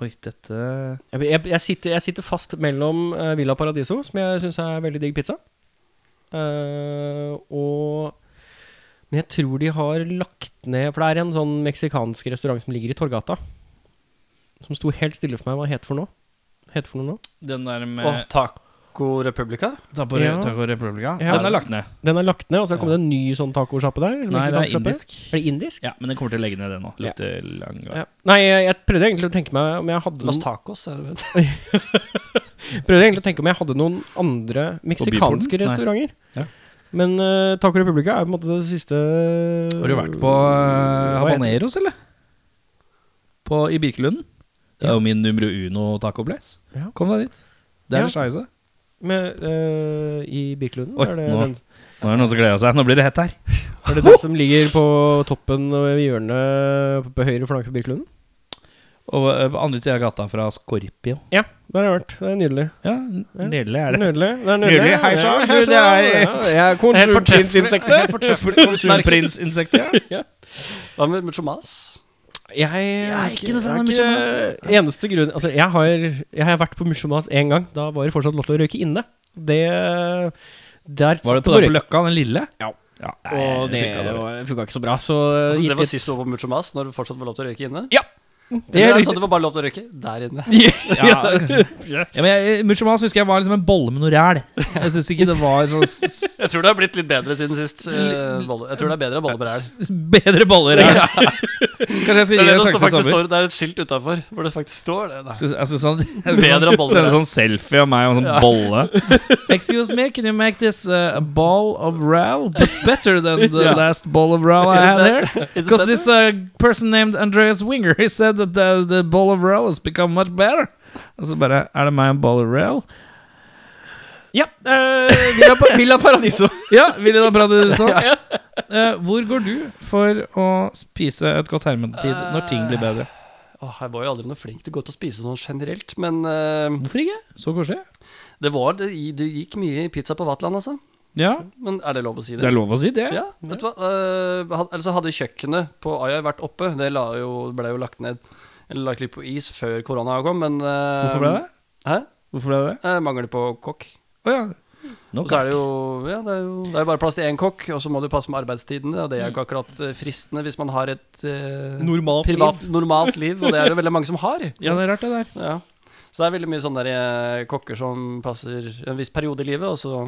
Speaker 3: Oi, dette
Speaker 2: Jeg, jeg, jeg, sitter, jeg sitter fast mellom eh, Villa Paradiso, som jeg syns er veldig digg pizza, eh, og Men jeg tror de har lagt ned For det er en sånn meksikansk restaurant som ligger i Torgata. Som sto helt stille for meg. Hva het for noe? Het for noe nå?
Speaker 3: Den der med
Speaker 4: Åh, Taco Republica?
Speaker 3: Taco,
Speaker 2: Ja.
Speaker 3: Taco Republica?
Speaker 2: Ja.
Speaker 3: Den er lagt ned.
Speaker 2: Den er lagt ned, og så har det kommet en ny sånn tacosjappe der.
Speaker 3: Nei, det er
Speaker 2: meksikansk sjappe.
Speaker 3: indisk.
Speaker 2: Er det indisk?
Speaker 3: Ja, men den kommer til å legge ned det nå.
Speaker 2: Ja.
Speaker 3: Litt eh, lang gang.
Speaker 2: Ja. Nei, jeg, jeg prøvde egentlig å tenke meg om jeg hadde
Speaker 4: Los
Speaker 2: noen,
Speaker 4: Tacos, er det vel?
Speaker 2: prøvde egentlig å tenke om jeg hadde noen andre meksikanske
Speaker 3: Byporten? Nei.
Speaker 2: restauranter.
Speaker 3: Ja.
Speaker 2: Men eh, Taco Republica er på en måte det siste eh,
Speaker 3: Har du vært på
Speaker 2: Hva
Speaker 3: uh,
Speaker 2: heter
Speaker 3: Habaneros, eller? På, I Birkelunden? Det er jo min numero uno taco place.
Speaker 2: Ja.
Speaker 3: Kom deg dit. Det er
Speaker 2: Ja.
Speaker 3: en scheisse.
Speaker 2: Med, eh, I Birkelunden?
Speaker 3: Oi,
Speaker 2: er det,
Speaker 3: nå.
Speaker 2: den,
Speaker 3: Nå er det noen som gleder seg. Nå blir det hett her.
Speaker 2: er det den som ligger på toppen og i hjørnet på, på høyre flanke for Birkelunden?
Speaker 3: Og eh, på andre sida av gata fra Scorpio.
Speaker 2: Ja, der har jeg vært. Det er nydelig.
Speaker 3: Ja, n-
Speaker 2: Ja.
Speaker 3: nydelig er det.
Speaker 2: Nydelig. Det er nydelig.
Speaker 3: Nydelig. Hei sann,
Speaker 2: Ja,
Speaker 3: du,
Speaker 2: hei
Speaker 3: det
Speaker 2: sann.
Speaker 3: er-
Speaker 2: Ja, Jeg er konsumtidsinsekter.
Speaker 4: Helt fortreffelig.
Speaker 3: Kronprinsinsekter, ja.
Speaker 4: Hva med Muchomas?
Speaker 2: Jeg,
Speaker 3: er ikke noe fan av
Speaker 2: jeg er ikke- Eneste grunn Altså, jeg har, jeg har vært på Mushomas én gang. Da var det fortsatt lov til å røyke inne. Det der
Speaker 3: Var det på, der på Løkka, den lille?
Speaker 2: Ja.
Speaker 3: ja nei,
Speaker 2: Og det
Speaker 3: funket dårlig.
Speaker 2: var- funka ikke så bra, så
Speaker 4: Altså,
Speaker 2: gikk
Speaker 4: det var
Speaker 2: litt-
Speaker 4: sist du var på Muchomas, når det fortsatt var lov til å røyke inne?
Speaker 2: Det er
Speaker 4: Eller er det
Speaker 2: riktig.
Speaker 4: sånn at det var bare lov til å røyke der inne.
Speaker 3: Ja, ja, men jeg, Muchomas husker jeg var liksom en bolle med noe ræl. Jeg syns ikke det var sånn s- s-
Speaker 4: Jeg tror det har blitt litt bedre siden sist. eh, bolle. Jeg tror det er bedre bolle på ræl.
Speaker 3: bedre boller. Ja. Kanskje jeg skal
Speaker 4: Det
Speaker 3: gi deg
Speaker 4: er, det,
Speaker 3: en sjanse
Speaker 4: det, står
Speaker 3: i
Speaker 4: faktisk,
Speaker 3: sommer.
Speaker 4: står, det er et skilt utafor hvor det faktisk står det. Nei.
Speaker 3: Jeg synes han
Speaker 4: Bedre boller.
Speaker 3: Sende sånn selfie av meg og en sånn bolle. Excuse me, can you make this uh, a ball of row but better than the
Speaker 4: Ja.
Speaker 3: last ball of row I
Speaker 4: Is it
Speaker 3: had
Speaker 4: better?
Speaker 3: there?
Speaker 4: Is it
Speaker 3: Because
Speaker 4: better?
Speaker 3: this uh, person named Andreas Winger He said that the, the ball of row has become much better. Og så bare Er det meg en ball of row?
Speaker 2: Ja. eh, Villa, Pa- Villa Paradiso.
Speaker 3: Ja, vil jeg da prate det sånn? Eh, hvor går du for å spise et godt hermetid når ting blir bedre?
Speaker 4: Eh, Åh, jeg var jo aldri noe flink til å gå ut og spise sånn generelt, men eh,
Speaker 3: Hvorfor ikke? Så koselig.
Speaker 4: det var det, det gikk mye i pizza på Vatland, altså.
Speaker 3: Ja,
Speaker 4: Men er det lov å si det?
Speaker 3: det er lov å si det.
Speaker 4: Ja, vet du hva? Eh, had- eller så hadde kjøkkenet på Ayai vært oppe. Det la jo, ble jo lagt ned. Eller lagt litt på is før korona kom, men eh,
Speaker 3: Hvorfor ble det?
Speaker 4: Hæ?
Speaker 3: Hvorfor ble det?
Speaker 4: Eh, mangel på kokk.
Speaker 3: Å ja.
Speaker 4: Og så er det jo Ja, det er jo, det er jo bare plass til én kokk, og så må du passe med arbeidstidene.
Speaker 3: Mm.
Speaker 4: Og det er jo ikke akkurat eh, fristende hvis man har et eh,
Speaker 2: Normalt
Speaker 4: privat, normalt liv, og det er det veldig mange som har.
Speaker 3: Ja, det er rart, det der.
Speaker 4: Ja. Så det er veldig mye sånne der, eh, kokker som passer en viss periode i livet, og så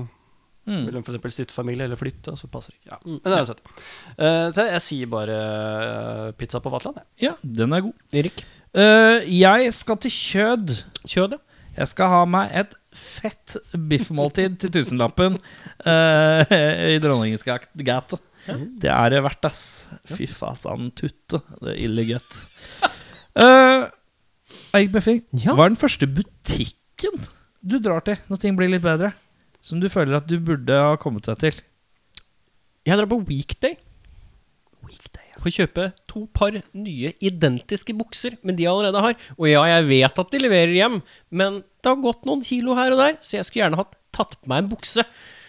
Speaker 2: Mm.
Speaker 3: Mm.
Speaker 4: vil de f.eks. stifte familie eller flytte, og så passer det ikke. Ja. Men det er uansett. Eh, så jeg, jeg sier bare eh, pizza på Vatland, jeg.
Speaker 3: Ja, den er god.
Speaker 2: Erik.
Speaker 3: Eh, jeg skal til Kjød.
Speaker 2: Kjødet.
Speaker 3: Jeg skal ha meg et fett biffmåltid til tusenlappen eh, i Dronningens gat- gate. Det er det verdt, ass. Fy fasan, tutte. Det er ille godt. Eh, Eirik Befring,
Speaker 2: Ja.
Speaker 3: hva er den første butikken du drar til når ting blir litt bedre? Som du føler at du burde ha kommet deg til?
Speaker 2: Jeg drar på weekday. For å kjøpe to par nye identiske bukser med de jeg allerede har. Og ja, jeg vet at de leverer hjem, men det har gått noen kilo her og der, så jeg skulle gjerne hatt tatt på meg en bukse.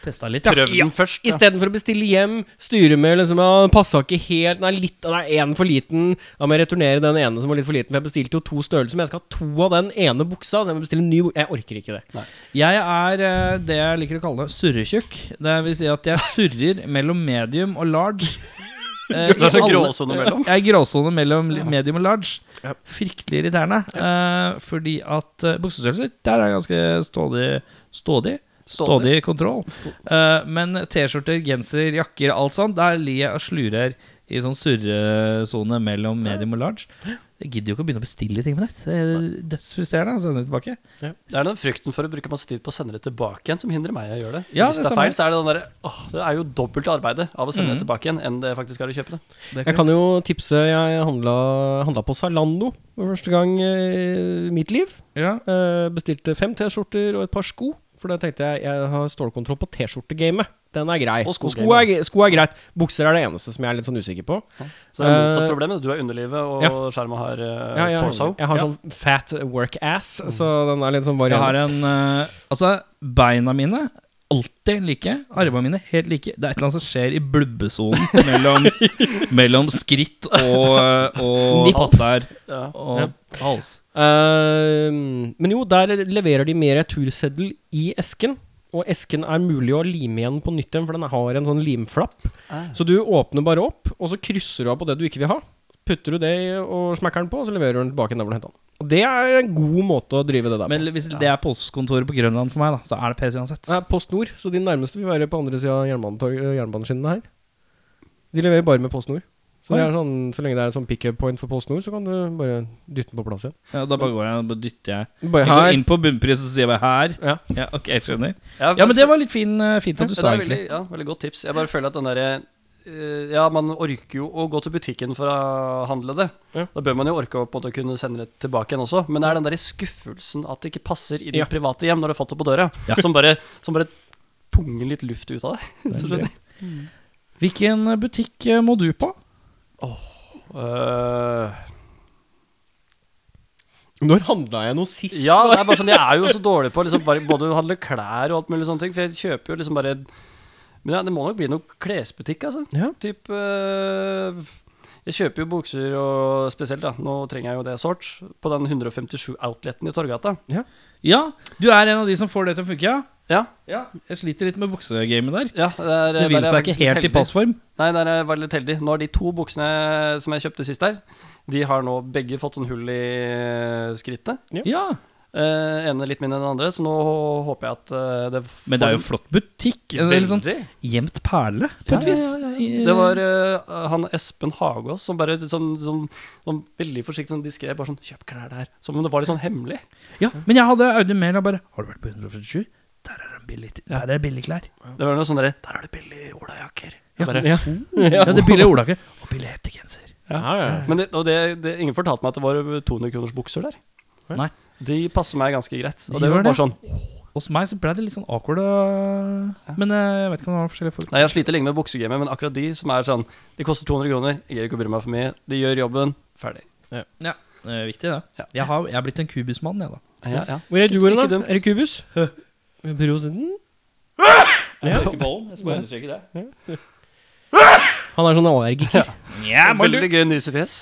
Speaker 3: Testa litt,
Speaker 2: Ja,
Speaker 4: Prøv
Speaker 2: ja.
Speaker 4: den først. Ja.
Speaker 2: Istedenfor å bestille hjem, styre med liksom, ja, Passa ikke helt, nei, litt Nei, én for liten. Da må jeg returnere den ene som var litt for liten. For jeg bestilte jo to størrelser, men jeg skal ha to av den ene buksa. Så jeg må bestille en ny bukse. Jeg orker ikke det.
Speaker 3: Jeg er eh, det jeg liker å kalle surretjukk. Det vil si at jeg surrer mellom medium og large. Eh,
Speaker 4: Det er så
Speaker 3: i alle-
Speaker 4: gråsone mellom.
Speaker 3: Jeg er i gråsone mellom li- medium og large. Fryktelig irriterende. eh, fordi at eh, buksestørrelser, der er jeg ganske stådig. Stådig. Stådig kontroll. Eh, men T-skjorter, genser, jakker, alt sånt, der lir jeg og slurer i sånn surresone mellom medium og large. Jeg gidder jo ikke å begynne å bestille ting på nett. Det er dødsfrustrerende å sende det tilbake.
Speaker 4: Det er den frykten for å bruke masse tid på å sende det tilbake igjen som hindrer meg i å gjøre det.
Speaker 3: Ja,
Speaker 4: Hvis
Speaker 3: det
Speaker 4: det er
Speaker 3: samme.
Speaker 4: feil, så er det den derre åh, det er jo dobbelt arbeidet av å sende det tilbake igjen enn det faktisk er å kjøpe det.
Speaker 3: Det er
Speaker 2: Mm. Jeg kan jo tipse Jeg handla, handla på Zalando for første gang eh, i mitt liv.
Speaker 3: ja.
Speaker 2: Eh, bestilte fem T-skjorter og et par sko. For da tenkte jeg jeg har stålkontroll på T-skjortegamet. Den er grei.
Speaker 4: Og
Speaker 2: Og sko,
Speaker 4: skogamet.
Speaker 2: er, ge- sko er greit. Bukser er det eneste som jeg er litt sånn usikker på.
Speaker 4: Så det er motsatt
Speaker 2: Eh,
Speaker 4: problemet. Du er underlivet, og
Speaker 2: ja.
Speaker 4: skjermen har uh,
Speaker 2: Ja, jeg,
Speaker 4: torso.
Speaker 2: jeg har sånn fat work ass, så den er litt sånn
Speaker 3: Jeg har
Speaker 2: varierende.
Speaker 3: en eh, Altså, beina mine alltid like. Armene mine helt like. Det er et eller annet som skjer i blubbesonen mellom, mellom skritt og, eh, og
Speaker 2: Nips.
Speaker 3: patter
Speaker 4: Ja.
Speaker 3: og hals.
Speaker 2: Eh, men jo, der leverer de med returseddel i esken. Og esken er mulig å lime igjen på nytt igjen, for den har en sånn limflapp.
Speaker 4: Ah.
Speaker 2: Så du åpner bare opp, og så krysser du av på det du ikke vil ha. Putter du det i og smekker den på, og så leverer du den tilbake der hvor du henta den. Og det er en god måte å drive det der på.
Speaker 3: Men hvis det er postkontoret på Grønland for meg, da, så er det PC uansett.
Speaker 2: Det er Post Nord, så de nærmeste vil være på andre sida av jernbanetorg- eh, jernbaneskinnene her. De leverer bare med Post Nord. Så, det er sånn, så lenge det er en sånn pick-up point for Post Nord, så kan du bare dytte den på plass igjen.
Speaker 3: Ja, da bare går jeg og bare dytter jeg.
Speaker 2: Bare
Speaker 3: Jeg går
Speaker 2: her.
Speaker 3: inn på bunnpris og sier bare her.
Speaker 2: Ja.
Speaker 3: Ja, ok, jeg skjønner.
Speaker 4: Ja,
Speaker 3: Ja, men det var litt fin, eh, fint at du
Speaker 4: det
Speaker 3: sa,
Speaker 4: er
Speaker 3: egentlig.
Speaker 4: Veldig, ja, veldig godt tips. Jeg bare føler at den derre eh, Ja, man orker jo å gå til butikken for å handle det.
Speaker 2: Ja.
Speaker 4: Da bør man jo orke å på en måte kunne sende det tilbake igjen også. Men det er den derre skuffelsen at det ikke passer i ditt
Speaker 2: Ja.
Speaker 4: private hjem når du har fått det på døra,
Speaker 3: Ja.
Speaker 4: som, bare, som bare punger litt luft ut av deg. Så skjønner jeg.
Speaker 3: Hvilken eh, butikk eh, må du på?
Speaker 4: Øh,
Speaker 2: Når handla jeg noe sist?
Speaker 4: ja, det er bare sånn, jeg er jo så dårlig på liksom, bare, både å handle klær og alt mulig sånne ting, for jeg kjøper jo liksom bare Men ja, det må nok bli noe klesbutikk, altså.
Speaker 2: Ja.
Speaker 4: Typ eh, Jeg kjøper jo bukser og spesielt, da. Nå trenger jeg jo det sort. På den 157 outleten i Torgata.
Speaker 3: Ja, du er en av de som får det til å funke, ja?
Speaker 4: Ja,
Speaker 3: Ja, jeg sliter litt med buksegamet der.
Speaker 4: ja der,
Speaker 3: Det vil
Speaker 4: der er jeg
Speaker 3: seg
Speaker 4: faktisk
Speaker 3: ikke helt
Speaker 4: litt
Speaker 3: i passform.
Speaker 4: heldig. Nei, der er jeg veldig heldig. Nå har de to buksene som jeg kjøpte sist her, de har nå begge fått sånn hull i eh, skrittet.
Speaker 3: Ja,
Speaker 4: Eh, ene litt mindre enn den andre, så nå håper jeg at eh, det
Speaker 3: Men det er jo
Speaker 4: får-
Speaker 3: flott butikk. En veldig sånn
Speaker 4: Veldig.
Speaker 3: gjemt perle, på et
Speaker 4: liksom Ja,
Speaker 3: vis.
Speaker 4: ja, Det var eh, han Espen Hagås som bare sånn, sånn, sånn veldig forsiktig sånn diskré bare sånn 'Kjøp klær der.' Som om det var litt sånn hemmelig.
Speaker 3: Ja, men jeg hadde Audi Mail og bare Har du vært på 147? Der er det billig, der er det billig klær.
Speaker 4: Det var noe sånn derre Der er det billige olajakker.
Speaker 3: Ja,
Speaker 4: Bare-
Speaker 3: ja. ja det er billig olakke. Og billig hettegenser.
Speaker 2: Ja, ja, ja.
Speaker 4: Men det, og det, det, ingen fortalte meg at det var 200 kroners bukser der.
Speaker 3: Nei.
Speaker 4: De passer meg ganske greit. Og det
Speaker 3: Gjør
Speaker 4: var bare
Speaker 3: det?
Speaker 4: sånn
Speaker 3: Hos meg så ble det litt sånn awkward, øh, men øh, jeg vet ikke om det var forskjellige folk.
Speaker 4: Nei, jeg sliter lenge med buksegamet, men akkurat de som er sånn De koster 200 kroner, jeg gidder ikke å bry meg for mye. De gjør jobben, ferdig.
Speaker 3: Det er viktig, det.
Speaker 4: Ja.
Speaker 3: Jeg, har, jeg er blitt en kubusmann, jeg, da.
Speaker 4: Ja, ja.
Speaker 2: Hvor er du hen,
Speaker 4: Ikke
Speaker 2: da?
Speaker 4: dumt.
Speaker 2: Er det Kubus? Prosenten? Han er sånn allergiker.
Speaker 4: Veldig gøy nysefjes.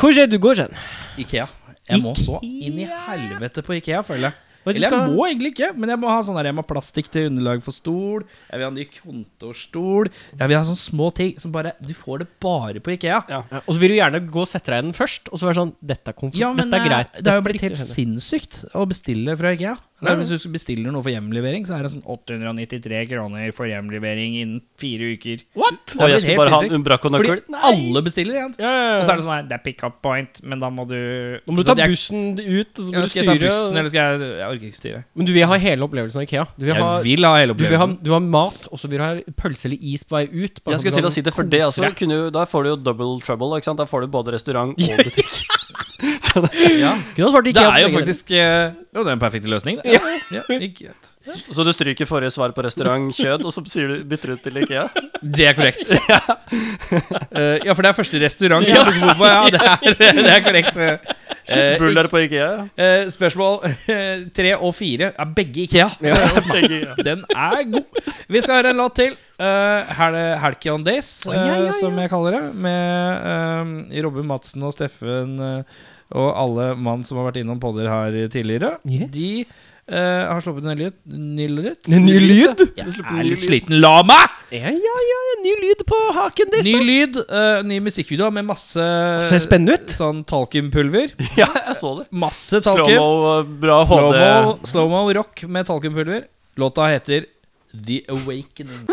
Speaker 2: Hvor er du går hen?
Speaker 3: Ikea. Jeg må så inn i helvete på Ikea, føler jeg.
Speaker 2: Hva er det du
Speaker 3: Eller jeg
Speaker 2: skal-
Speaker 3: må egentlig ikke, men jeg må ha sånn der, jeg må ha plastikk til underlag for stol. Jeg vil ha ny kontorstol. Jeg vil ha sånne små ting som bare Du får det bare på Ikea.
Speaker 4: Ja.
Speaker 2: Ja, Og så vil du gjerne gå og sette deg i den først, og så være sånn Dette er komfort.
Speaker 3: Ja, men
Speaker 2: dette er
Speaker 3: eh,
Speaker 2: greit.
Speaker 3: det er jo
Speaker 2: dette
Speaker 3: blitt
Speaker 2: er
Speaker 3: helt
Speaker 2: riktig
Speaker 3: sinnssykt å bestille fra IKEA. Det er, hvis du bestiller noe for hjemlevering, så er det sånn 893 kroner for hjemlevering innen fire uker.
Speaker 2: What?!
Speaker 3: Det
Speaker 4: Og
Speaker 3: er
Speaker 4: jeg
Speaker 3: blitt helt
Speaker 4: skulle bare ha en
Speaker 3: sinnssykt.
Speaker 4: Umbraco-nøkkel.
Speaker 3: Fordi alle bestiller igjen.
Speaker 2: Ja, ja,
Speaker 3: Og så
Speaker 2: ja.
Speaker 3: er det sånn her, det er pick up point, men da må du
Speaker 2: Nå må du
Speaker 3: Så
Speaker 2: ta
Speaker 3: jeg-
Speaker 2: bussen ut, og så
Speaker 3: Ja,
Speaker 2: må du
Speaker 3: skal jeg ta
Speaker 2: styre.
Speaker 3: bussen, eller skal jeg Jeg orker ikke styre.
Speaker 2: Men du vil ha hele opplevelsen av Ikea. Du vil ha,
Speaker 3: Jeg vil ha hele
Speaker 2: du vil ha,
Speaker 3: opplevelsen.
Speaker 2: du vil ha mat, og så vil du ha pølse eller is på vei ut. bare sånn at
Speaker 4: Jeg skulle
Speaker 2: du
Speaker 4: til
Speaker 2: kan
Speaker 4: å si det, for det
Speaker 2: kose
Speaker 4: altså,
Speaker 2: deg.
Speaker 4: kunne, jo- da får du jo double trouble. Ikke sant? Da får du både restaurant og butikk. Så det-
Speaker 2: Kunne ha svart
Speaker 3: Det
Speaker 2: Ikea.
Speaker 3: er jo
Speaker 2: på begge
Speaker 3: faktisk eh, Jo, det er en perfekt løsning, det. Ja, ikke-
Speaker 4: Så du stryker forrige svar på restaurant kjød, og så sier du, bytter du ut til Ikea?
Speaker 3: Det er korrekt. Eh, ja, for det er første restaurant jeg har bodd på. Ja, det er, det er korrekt. Eh,
Speaker 4: Kjøttbuller på Ikea?
Speaker 3: Eh, spørsmål eh, tre og fire er begge IKEA. Den er god. Vi skal høre en låt til. Eh, her er det Helke on Days, eh, som jeg kaller det. Med eh, Robin Madsen og Steffen eh, og alle mann som har vært innom podder her tidligere.
Speaker 2: Yes.
Speaker 3: De eh, har sluppet en ny lyd. Ny lyd.
Speaker 2: deler. Ny lyd?
Speaker 3: Jeg er litt sliten. La meg!
Speaker 2: Ja, ja, ja. ja, Ny lyd på haken din.
Speaker 3: Ny lyd, eh, ny musikkvideo med masse
Speaker 2: Ser spennende ut.
Speaker 3: sånn talkumpulver.
Speaker 4: Ja, jeg så det.
Speaker 3: Masse talkum.
Speaker 4: Slow-mo, bra HD.
Speaker 3: Slow-mo slow rock med talkumpulver. Låta heter The Awakening.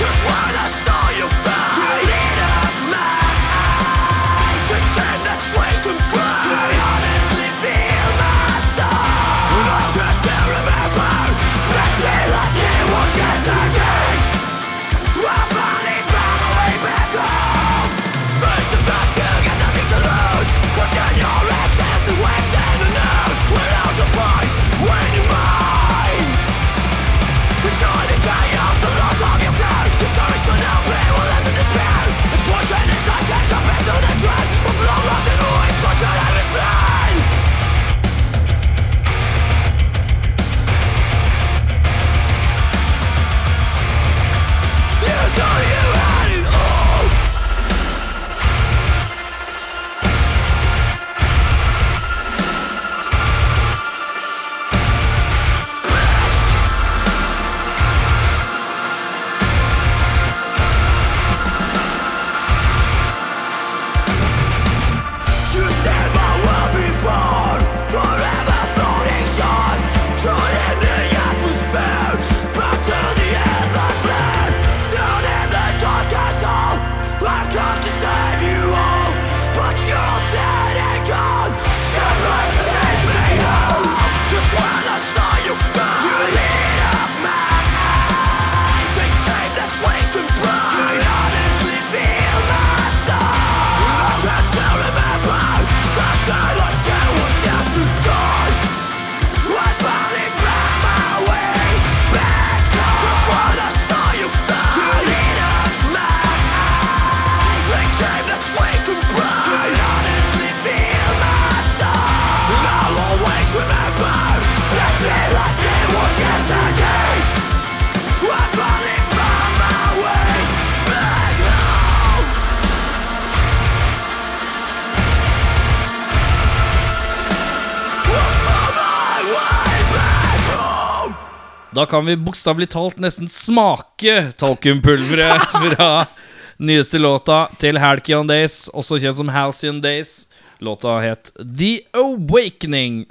Speaker 6: Just when I saw you fall, you lit up my
Speaker 3: Da kan vi bokstavelig talt nesten smake talkumpulveret fra nyeste låta til Halcyon Days, også kjent som Halcyon Days. Låta het The Awakening.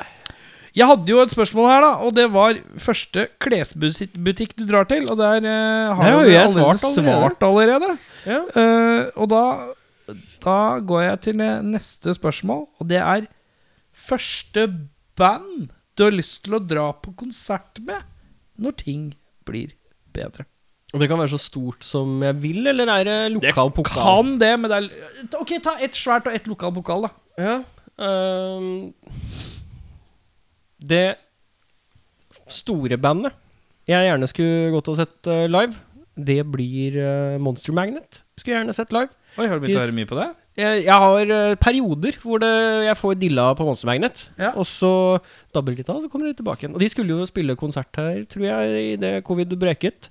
Speaker 3: Jeg hadde jo et spørsmål her, da, og det var første klesbutikk du drar til. Og der eh, har
Speaker 2: Der har
Speaker 3: du
Speaker 2: jo jeg
Speaker 3: allerede
Speaker 2: svart allerede.
Speaker 3: svart allerede.
Speaker 2: Ja.
Speaker 3: Eh, og da, da går jeg til eh, neste spørsmål, og det er første band du har lyst til å dra på konsert med når ting blir bedre.
Speaker 2: Og det kan være så stort som jeg vil, eller er det lokal pokal?
Speaker 3: Kan det, men det er Ok, ta ett svært og ett lokal pokal, da.
Speaker 2: Ja. ehm, det store bandet jeg gjerne skulle gått og sett eh, live, det blir eh, Monster Magnet. Skulle jeg gjerne sett live.
Speaker 3: Oi, har du
Speaker 2: begynt å
Speaker 3: høre mye på det?
Speaker 2: Jeg, jeg har eh, perioder hvor det, jeg får dilla på Monster Magnet.
Speaker 3: Ja.
Speaker 2: Og så dabber det litt av, og så kommer de tilbake igjen. Og de skulle jo spille konsert her, tror jeg, idet covid breket.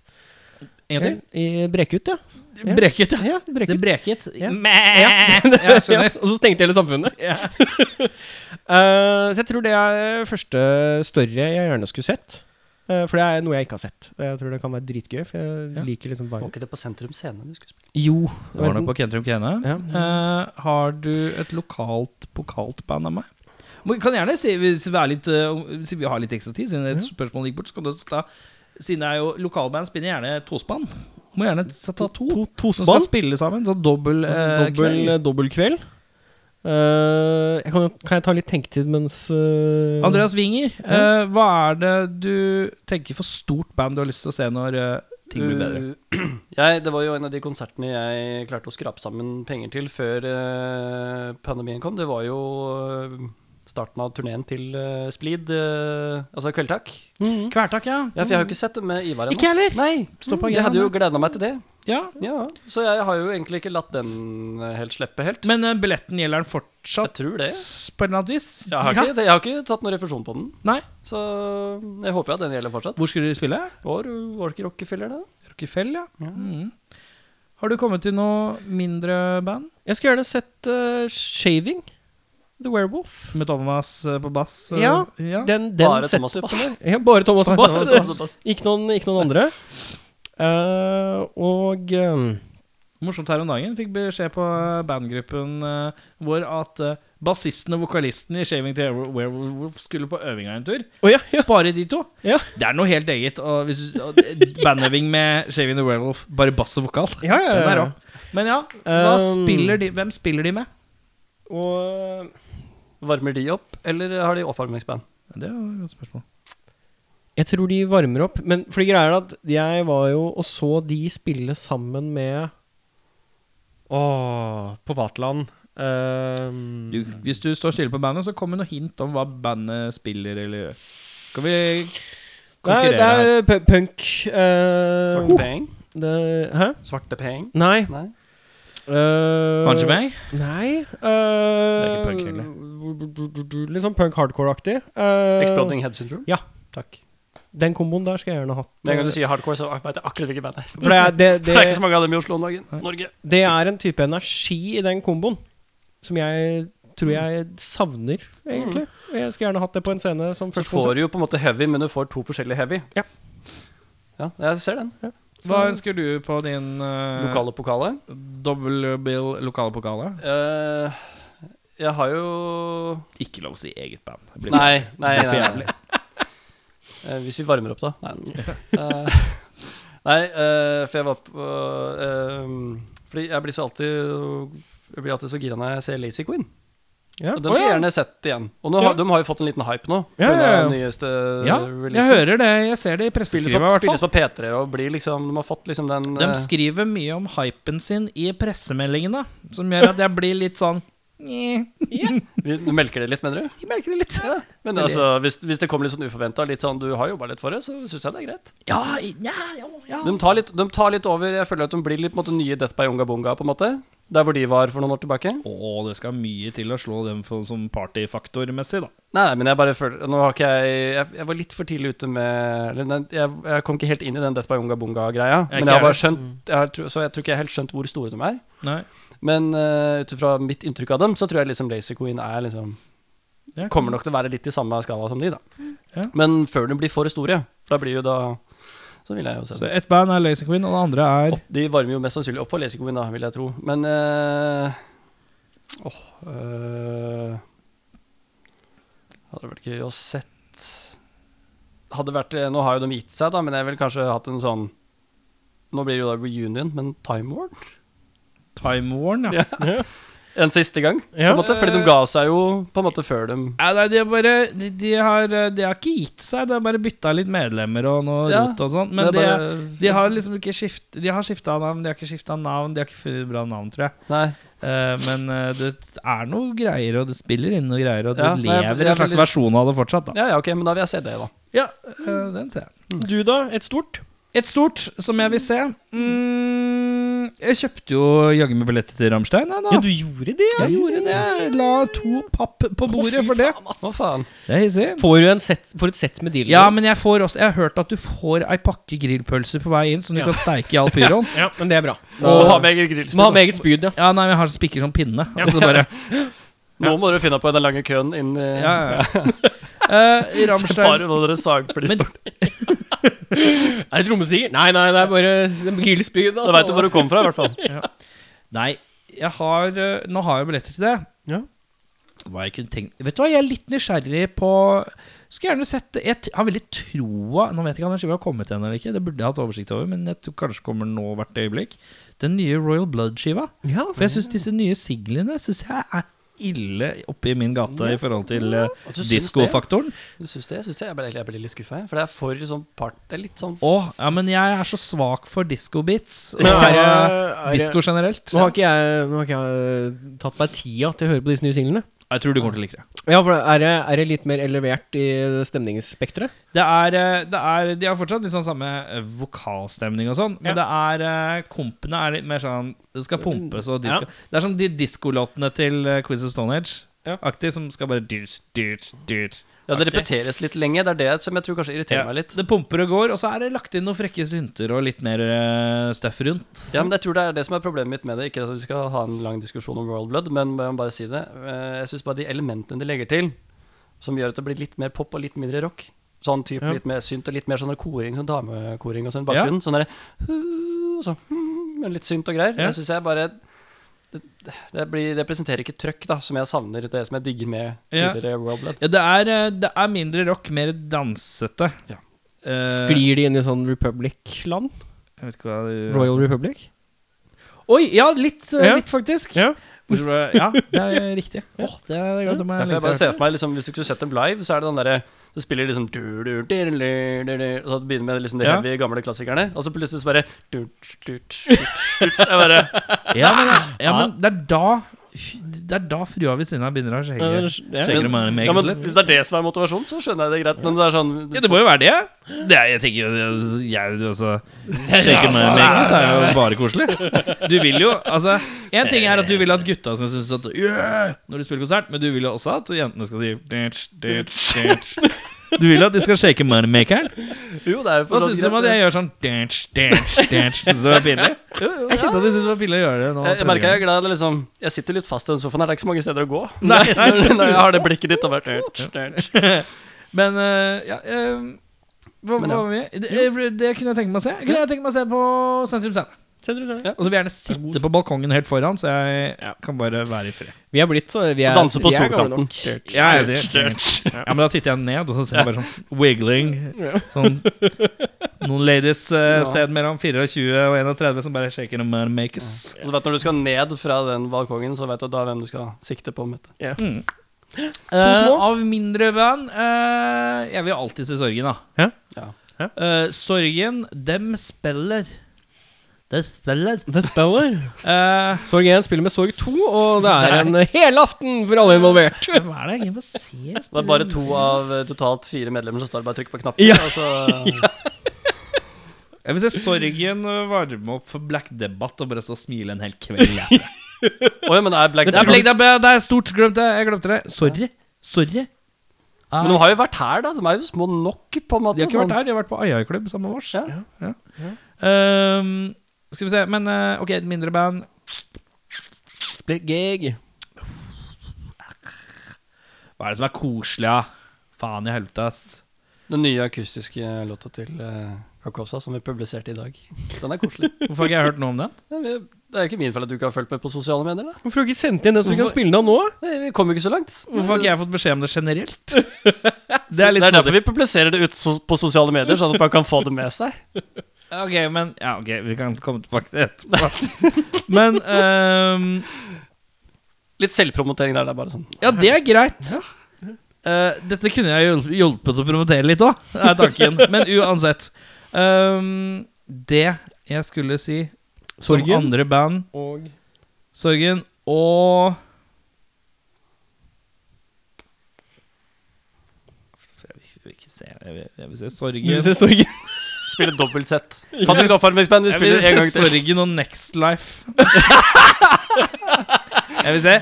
Speaker 3: En gang til?
Speaker 2: I breket, ja. Ja.
Speaker 3: Breket, ja.
Speaker 2: ja breket.
Speaker 3: Det breket.
Speaker 2: Ja.
Speaker 3: Mæ.
Speaker 2: Ja.
Speaker 3: jeg skjønner.
Speaker 2: og så stengte hele samfunnet. Eh, så jeg tror det er første større jeg gjerne skulle sett. Eh, for det er noe jeg ikke har sett. Jeg tror det kan være dritgøy, for jeg liker liksom
Speaker 4: Var
Speaker 2: bare
Speaker 4: ikke det på Sentrum Scene du skulle spille?
Speaker 2: Jo.
Speaker 3: Det var nok på Kentrum Kene.
Speaker 2: Ja.
Speaker 3: Eh, har du et lokalt pokalt band av meg? Må- Kan gjerne si, hvis vi er litt, eh, om- siden vi har litt ekstra tid, siden et spørsmål gikk bort. Så kan du også ta, siden det er jo lokalband, spinner gjerne tospann. Må gjerne ta, ta to.
Speaker 2: to,
Speaker 3: Som skal spille sammen. Så dobbel eh,
Speaker 2: Mm, Dobbel,
Speaker 3: kveld.
Speaker 2: dobbel kveld. Eh, jeg kan, jo- kan jeg ta litt tenketid mens eh,
Speaker 3: Andreas Winger, eh, hva er det du tenker for stort band du har lyst til å se når eh, ting blir bedre?
Speaker 4: Uh, Jeg, det var jo en av de konsertene jeg klarte å skrape sammen penger til før eh, pandemien kom. Det var jo eh, starten av turneen til eh, Splid, eh, altså Kveldtak.
Speaker 2: Mhm.
Speaker 3: Eh, Kvertak, ja.
Speaker 4: Ja, for jeg har jo ikke sett det med Ivar ennå.
Speaker 3: Ikke heller.
Speaker 4: Nei,
Speaker 3: Stå på
Speaker 4: så jeg hadde jo
Speaker 3: agendaen.
Speaker 4: gleda meg til det.
Speaker 3: Ja.
Speaker 4: Ja, Så jeg har jo egentlig ikke latt den eh, helt slippe helt.
Speaker 3: Men eh, billetten gjelder den
Speaker 4: Jeg
Speaker 3: fortsatt,
Speaker 4: tror det.
Speaker 3: på et eller annet vis?
Speaker 4: Jeg har, ikke, jeg har ikke tatt noen refusjon på den,
Speaker 3: Nei.
Speaker 4: så eh, jeg håper jo at den gjelder fortsatt.
Speaker 3: Hvor skulle dere spille?
Speaker 4: Var, var det ikke Rockefeller, da?
Speaker 3: Rockefeller, ja. Mm. Har du kommet til noe mindre band?
Speaker 2: Jeg skulle gjerne sett eh, Shaving. The Werewolf.
Speaker 3: Med Thomas eh, på bass? eh,
Speaker 2: Ja.
Speaker 3: ja.
Speaker 2: Den, den
Speaker 4: Bare Thomas Altså,
Speaker 2: setupen
Speaker 4: på bass.
Speaker 2: der. Ja, bare Thomas på
Speaker 4: Bare
Speaker 2: bass.
Speaker 4: Thomas på bass.
Speaker 2: Ikke noen, ikke noen andre. Eh, og eh,
Speaker 3: Morsomt her om dagen fikk beskjed på eh, bandgruppen eh, vår at eh, bassisten og vokalisten i Shaving to Werewolf skulle på øvinga en tur.
Speaker 2: Å ja, ja.
Speaker 3: Bare de to.
Speaker 2: Ja.
Speaker 3: Det er noe helt eget. Og hvis du, og det- bandøving med Shaving the Werewolf, bare bass og vokal.
Speaker 2: Ja, ja,
Speaker 3: Den
Speaker 2: ja.
Speaker 3: er rå. Men ja, hva
Speaker 2: Um,
Speaker 3: spiller de, hvem spiller de med?
Speaker 2: Og eh,
Speaker 4: Varmer de opp, eller har de oppvarmingsband?
Speaker 3: Det er jo et godt spørsmål.
Speaker 2: jeg tror de varmer opp. Men for det greia er at jeg var jo og så de spille sammen med Åh, på Vatland. Ehm,
Speaker 3: Du, hvis du står stille på bandet, så kom med noe hint om hva bandet spiller eller gjør. Skal vi
Speaker 2: Nei,
Speaker 3: konkurrere
Speaker 2: det
Speaker 3: her?
Speaker 2: er pu- punk. eh,
Speaker 4: Svarte peng?
Speaker 2: det- Hæ?
Speaker 4: Svarte peng?
Speaker 2: Nei.
Speaker 4: Nei.
Speaker 2: eh,
Speaker 3: Punch Bang?
Speaker 2: Nei. eh,
Speaker 3: ikke punk
Speaker 2: Litt sånn punk hardcore-aktig. Eh,
Speaker 4: Exploding Head Syndrome?
Speaker 2: Ja.
Speaker 4: Takk.
Speaker 2: Den komboen der skulle jeg gjerne hatt.
Speaker 4: Med en gang du sier hardcore, så vet jeg akkurat hvilket band det er.
Speaker 2: For Eh. det er, det,
Speaker 4: For det er ikke
Speaker 2: det,
Speaker 4: så mange av dem i Oslo om dagen. Norge.
Speaker 2: det er en type energi i den komboen som jeg tror jeg savner, egentlig. Jeg skulle gjerne hatt det på en scene som
Speaker 4: Mm. Så
Speaker 2: først
Speaker 4: får du jo på en måte heavy, men du får to forskjellige heavy.
Speaker 2: Ja.
Speaker 4: Ja, jeg ser den.
Speaker 3: Hva ønsker du på din eh,
Speaker 4: Lokale pokaler.
Speaker 3: Double bill lokale pokaler?
Speaker 4: Eh, jeg har jo
Speaker 3: Ikke lov å si eget band. Det blir-
Speaker 4: Nei, nei,
Speaker 3: Det blir for
Speaker 4: nei.
Speaker 3: jævlig.
Speaker 4: nei. Eh, hvis vi varmer opp, da. Nei, Eh, nei eh, for jeg var på eh, Fordi jeg blir så alltid Jeg blir alltid så gira når jeg ser Lazy Queen.
Speaker 2: Ja.
Speaker 4: Og Den skulle jeg gjerne sett igjen. Og nå har, de har jo fått en liten hype nå.
Speaker 2: Ja,
Speaker 4: på grunn av
Speaker 2: ja, ja.
Speaker 4: den nyeste
Speaker 3: Ja,
Speaker 4: releasen.
Speaker 3: jeg hører det. Jeg ser det i presseskrivet,
Speaker 4: Spilles liksom- på,
Speaker 3: i hvert
Speaker 4: spilles
Speaker 3: fall.
Speaker 4: på P3 og blir liksom De har fått liksom den
Speaker 3: De
Speaker 4: eh,
Speaker 3: skriver mye om hypen sin i pressemeldingene, som gjør at jeg blir litt sånn Nye.
Speaker 4: vi- Du melker det litt, mener du?
Speaker 3: Jeg merker det litt.
Speaker 4: Ja. Men altså, hvis, hvis det kommer litt sånn uforventa, litt sånn du har jobba litt for det, så syns jeg det er greit.
Speaker 3: Ja, ja, ja, ja.
Speaker 4: De tar litt, de tar litt over. Jeg føler at de blir litt på en måte, nye Death by Unga Bunga, på en måte. Der hvor de var for noen år tilbake. Nei,
Speaker 3: Å, det skal mye til å slå dem for, som partyfaktormessig, da.
Speaker 4: nei, men jeg bare føler Nå har ikke jeg Jeg, jeg var litt for tidlig ute med eller, nei, jeg, jeg kom ikke helt inn i den Death by Unga Bunga-greia.
Speaker 3: Jeg
Speaker 4: Men jeg har
Speaker 3: ikke Mm.
Speaker 4: bare skjønt jeg har, tro- Så jeg tror ikke jeg har helt skjønt hvor store de er.
Speaker 3: Nei.
Speaker 4: Men uh, ut ifra mitt inntrykk av dem, så tror jeg liksom Lazy Queen er liksom
Speaker 3: Ja,
Speaker 4: Kommer nok til å være litt i samme skala som de, da.
Speaker 3: Ja.
Speaker 4: Men før de blir for store, for da blir jo da Så vil jeg jo se
Speaker 3: Så
Speaker 4: det.
Speaker 3: ett band er Lazy Queen, og det andre er
Speaker 4: Opp, de varmer jo mest sannsynlig opp for Lazy Queen, da, vil jeg tro. Men eh, Åh eh, Hadde vært gøy å sett Hadde vært eh, Nå har jo de gitt seg, da, men jeg ville kanskje hatt en sånn Nå blir det jo da reunion, men Time War?
Speaker 3: Time Warn, ja.
Speaker 4: Ja. En siste gang,
Speaker 2: Ja.
Speaker 4: på en måte. Fordi de ga seg jo på en måte før dem
Speaker 3: Nei, nei, de, har bare, de, de, har, eh, de har ikke gitt seg, de har bare bytta litt medlemmer og noe
Speaker 4: Ja,
Speaker 3: rot og sånn. Men
Speaker 4: det
Speaker 3: de,
Speaker 4: er bare,
Speaker 3: de har liksom ikke skift, De har skifta navn, de har ikke skifta navn, de har ikke funnet bra navn, tror jeg.
Speaker 4: Nei.
Speaker 3: Eh, men eh, det er noe greier, og det spiller inn noe greier, og det
Speaker 4: Ja, nei, jeg-
Speaker 3: lever
Speaker 4: jeg
Speaker 3: en slags
Speaker 4: blir-
Speaker 3: versjon av det fortsatt, da.
Speaker 4: Ja, ja, ok, men da vil jeg se det, da. Mm.
Speaker 3: Ja, eh, den ser jeg.
Speaker 2: Du, da? Et stort?
Speaker 3: Et stort som jeg vil se. Mm, jeg kjøpte jo jaggu meg billetter til Rammstein. jeg, da.
Speaker 2: Ja, du gjorde det?
Speaker 3: Jeg gjorde det. Jeg La to papp på bordet for det.
Speaker 4: Hva faen?
Speaker 3: Det er hissig.
Speaker 2: Får du en set, får et sett med dealer?
Speaker 3: Ja, men jeg, får også, jeg har hørt at du får ei pakke grillpølser på vei inn, som du kan steike i all pyroen.
Speaker 2: Ja, men det er bra.
Speaker 4: Må
Speaker 2: Og-
Speaker 4: ha med eget grillspill.
Speaker 2: Må ha med eget spyd, ja.
Speaker 3: Ja, nei, men jeg har spikker som pinne. Og så bare,
Speaker 4: Nå må dere finne på den lange køen inn i
Speaker 3: ja, ja, ja. Eh, Rammstein
Speaker 4: Bare når dere sag for de
Speaker 3: Men-
Speaker 4: står
Speaker 2: Er det trommestikker? Nei, nei, det er bare grillspyd.
Speaker 4: Da veit du hvor du kom fra, i hvert fall.
Speaker 3: Nei, jeg har, eh, nå har jeg billetter til det.
Speaker 2: Ja.
Speaker 3: Hva jeg kunne tenkt Vet du hva, jeg er litt nysgjerrig på Skulle gjerne sett det. Jeg t- har veldig troa Nå vet jeg ikke om den skiva har kommet igjen eller ikke. Det burde jeg hatt oversikt over, men jeg tror kanskje kommer nå hvert øyeblikk. Den nye Royal Blood-skiva.
Speaker 2: Ja,
Speaker 3: For jeg syns disse nye siglene synes jeg er ille oppi min gate i forhold til eh,
Speaker 4: Og du syns det?
Speaker 3: diskofaktoren.
Speaker 4: Du syns det? Jeg syns det. Jeg ble, jeg ble litt skuffa, jeg. For det er for sånn part Det er litt sånn
Speaker 3: Å, ja, men jeg er så svak for disco-beats.
Speaker 2: Men er det-
Speaker 3: Og
Speaker 2: er det-
Speaker 3: disko generelt.
Speaker 2: Nå har ikke jeg, nå har ikke jeg tatt meg tida til å høre på disse nye singlene.
Speaker 3: Jeg tror du kommer til å like det.
Speaker 2: Ja, for er det, er det litt mer elevert i stemningsspekteret?
Speaker 3: Det er, eh, det er, de har fortsatt liksom samme eh, vokalstemning og sånn, men det er eh, sånn kompene er litt mer sånn Det skal pumpes og disko. Det er som de diskolåtene til eh, Quiz of Stone Age.
Speaker 2: Ja.
Speaker 3: aktig som skal bare dyrt, dyrt, dyrt.
Speaker 4: Ja, det
Speaker 3: Aktig.
Speaker 4: repeteres litt lenge. Det er det som jeg tror kanskje irriterer meg litt.
Speaker 3: Det pumper og går, og så er det lagt inn noen frekke synter og litt mer eh, stuff rundt.
Speaker 4: Ja, men jeg tror det er det som er problemet mitt med det. Ikke at vi skal ha en lang diskusjon om Royal Blood, men jeg må bare si det. Eh, Jeg syns bare de elementene de legger til, som gjør at det blir litt mer pop og litt mindre rock. Sånn type
Speaker 2: Ja.
Speaker 4: litt mer synt og litt mer sånn koring, sånn damekoring og sånn i bakgrunnen. Sånn derre «Hu», og sånn «hm», men litt synt og greier.
Speaker 3: Ja.
Speaker 4: Det syns jeg bare det, det blir, representerer ikke trøkk, da, som jeg savner. Det som jeg digger med
Speaker 3: Ja.
Speaker 4: tidligere Royal Blood.
Speaker 3: Ja, det er, eh, det er mindre rock, mer dansete.
Speaker 4: Ja.
Speaker 3: Eh,
Speaker 2: Sklir de inn i sånn Republic-land?
Speaker 3: Jeg vet ikke hva du
Speaker 2: Royal Republic?
Speaker 3: Oi, ja, litt, eh,
Speaker 2: Ja.
Speaker 3: litt faktisk.
Speaker 2: Ja.
Speaker 3: Bortsett fra- ja, det er riktig. Åh, det er godt om
Speaker 4: Ja,
Speaker 3: jeg
Speaker 4: for jeg
Speaker 3: lenge
Speaker 4: bare ser
Speaker 3: siden.
Speaker 4: for meg, liksom, Hvis du skulle sett dem live, så er det den derre Det spiller liksom du, du, du, du, du, du, Og så begynner med liksom de
Speaker 3: Ja.
Speaker 4: heavy, gamle klassikerne, og så plutselig så bare du, du, du, du, du. Jeg bare
Speaker 3: Ja, men, ja, men det er da Det er da frua ved siden av begynner å skjegge.
Speaker 2: Ja.
Speaker 3: Skjegger og meg- meg
Speaker 4: ja, men
Speaker 3: litt.
Speaker 4: Hvis det er det som er motivasjonen, så skjønner jeg det greit, men det er sånn
Speaker 3: Ja, det må jo være det. det er, jeg tenker jo det- Jeg altså Sjekke meg med engelsk er jo bare koselig. Du vil jo Altså, én ting er at du vil at gutta skal synes at yeah! Når de spiller konsert, men du vil jo også at jentene skal si ditch, ditch, ditch. Du vil at de skal shake moneymakeren?
Speaker 4: Jo, det er jo
Speaker 3: Hva
Speaker 4: for så
Speaker 3: syns
Speaker 4: vidt
Speaker 3: du om at
Speaker 4: greit.
Speaker 3: jeg gjør sånn ditch, ditch, ditch? Syns du det var pinlig? Jeg kjente at jeg syntes det var pinlig å gjøre det nå.
Speaker 4: jeg, jeg merker jeg er glad det liksom Jeg sitter jo litt fast i den sofaen her, det er ikke så mange steder å gå.
Speaker 3: Nei, nei.
Speaker 4: Når jeg har det blikket ditt og bare du, du, du.
Speaker 3: Men eh, ja eh, hva, hva
Speaker 4: Men ja.
Speaker 3: var vi? Det, eh, det kunne jeg tenke meg å se. Kunne jeg tenke meg å se på Sentrum Scene. Og så vil jeg gjerne sitte på balkongen helt foran, så jeg kan bare være i fred.
Speaker 2: Vi er blitt så vi er,
Speaker 4: Danse på
Speaker 2: vi er gamle
Speaker 4: stolkanten.
Speaker 2: nok.
Speaker 3: Ja, jeg sier Ja, men da titter jeg ned, og så ser jeg bare sånn wiggling. Sånn noen ladies eh, sted mellom 24 og 31 som bare shaker and man makes.
Speaker 4: Og du vet når du skal ned fra den balkongen, så vet du da hvem du skal sikte på. Mette.
Speaker 3: Mm. Eh, av mindre band eh, Jeg vil alltid se Sorgen, da.
Speaker 2: Ja.
Speaker 4: Ja.
Speaker 3: Eh, sorgen, dem spiller. De spiller.
Speaker 2: The Speller.
Speaker 3: Eh,
Speaker 2: Sorg 1 spiller med Sorg 2, og det er en helaften for alle involvert.
Speaker 3: hvem er det jeg egentlig får se?
Speaker 4: Det er bare to av eh, totalt fire medlemmer som står og bare trykker på knappen. Altså,
Speaker 2: Ja.
Speaker 4: Og så,
Speaker 3: Jeg vil se Sorgen eh, varme opp for Black Debatt og bare så smile en hel kveld. jeg.
Speaker 4: Oi, men det er Black
Speaker 3: Det er,
Speaker 4: Dog.
Speaker 3: Black Debatt, det er stort. Glemte jeg. Jeg glemte det. Sorry. Sorry.
Speaker 4: Men de har jo vært her, da. De er jo små nok, på en måte.
Speaker 3: De har ikke vært
Speaker 4: sånn.
Speaker 3: her, de har vært på Ayai-klubb sammen med oss.
Speaker 4: Ja.
Speaker 3: Ja. Ehm, skal vi se, men eh, ok, et mindre band.
Speaker 2: Split gig.
Speaker 3: Hva er det som er koselig, da? Faen i helvete, ass.
Speaker 4: Den nye akustiske låta til eh, Carcosa som vi publiserte i dag. Den er koselig.
Speaker 3: Hvorfor har ikke jeg hørt noe om den?
Speaker 4: Ja, vi- Det er jo ikke min feil at du ikke har fulgt med på sosiale medier. da
Speaker 2: Hvorfor har du ikke sendt inn den så vi kan spille den av nå?
Speaker 4: Nei, Vi kom jo ikke så langt.
Speaker 3: Hvorfor har ikke jeg fått beskjed om det generelt? Det er
Speaker 4: Det
Speaker 3: litt sånn
Speaker 4: er derfor
Speaker 3: snodig.
Speaker 4: vi publiserer det ut so på sosiale medier, sånn at man kan få det med seg.
Speaker 3: Ok, men Ja, ok, vi kan komme tilbake til det etterpå. Men ehm,
Speaker 4: Litt selvpromotering der. Det er bare sånn
Speaker 3: Ja, det er greit. Eh, dette kunne jeg hjul- hjulpet å promotere litt òg, er tanken. Men uansett. Ehm, det jeg skulle si som
Speaker 2: Sorgen.
Speaker 3: andre band
Speaker 2: Og
Speaker 3: Sorgen og Jeg vil ikke se Jeg vil, jeg vil se Sorgen.
Speaker 2: Vi vil se Sorgen.
Speaker 4: Spille dobbeltsett. Patrick oppvarmingsband, vi
Speaker 3: jeg vil
Speaker 4: spiller en gang
Speaker 3: se
Speaker 4: til.
Speaker 3: Sorgen og Next Life. jeg vil se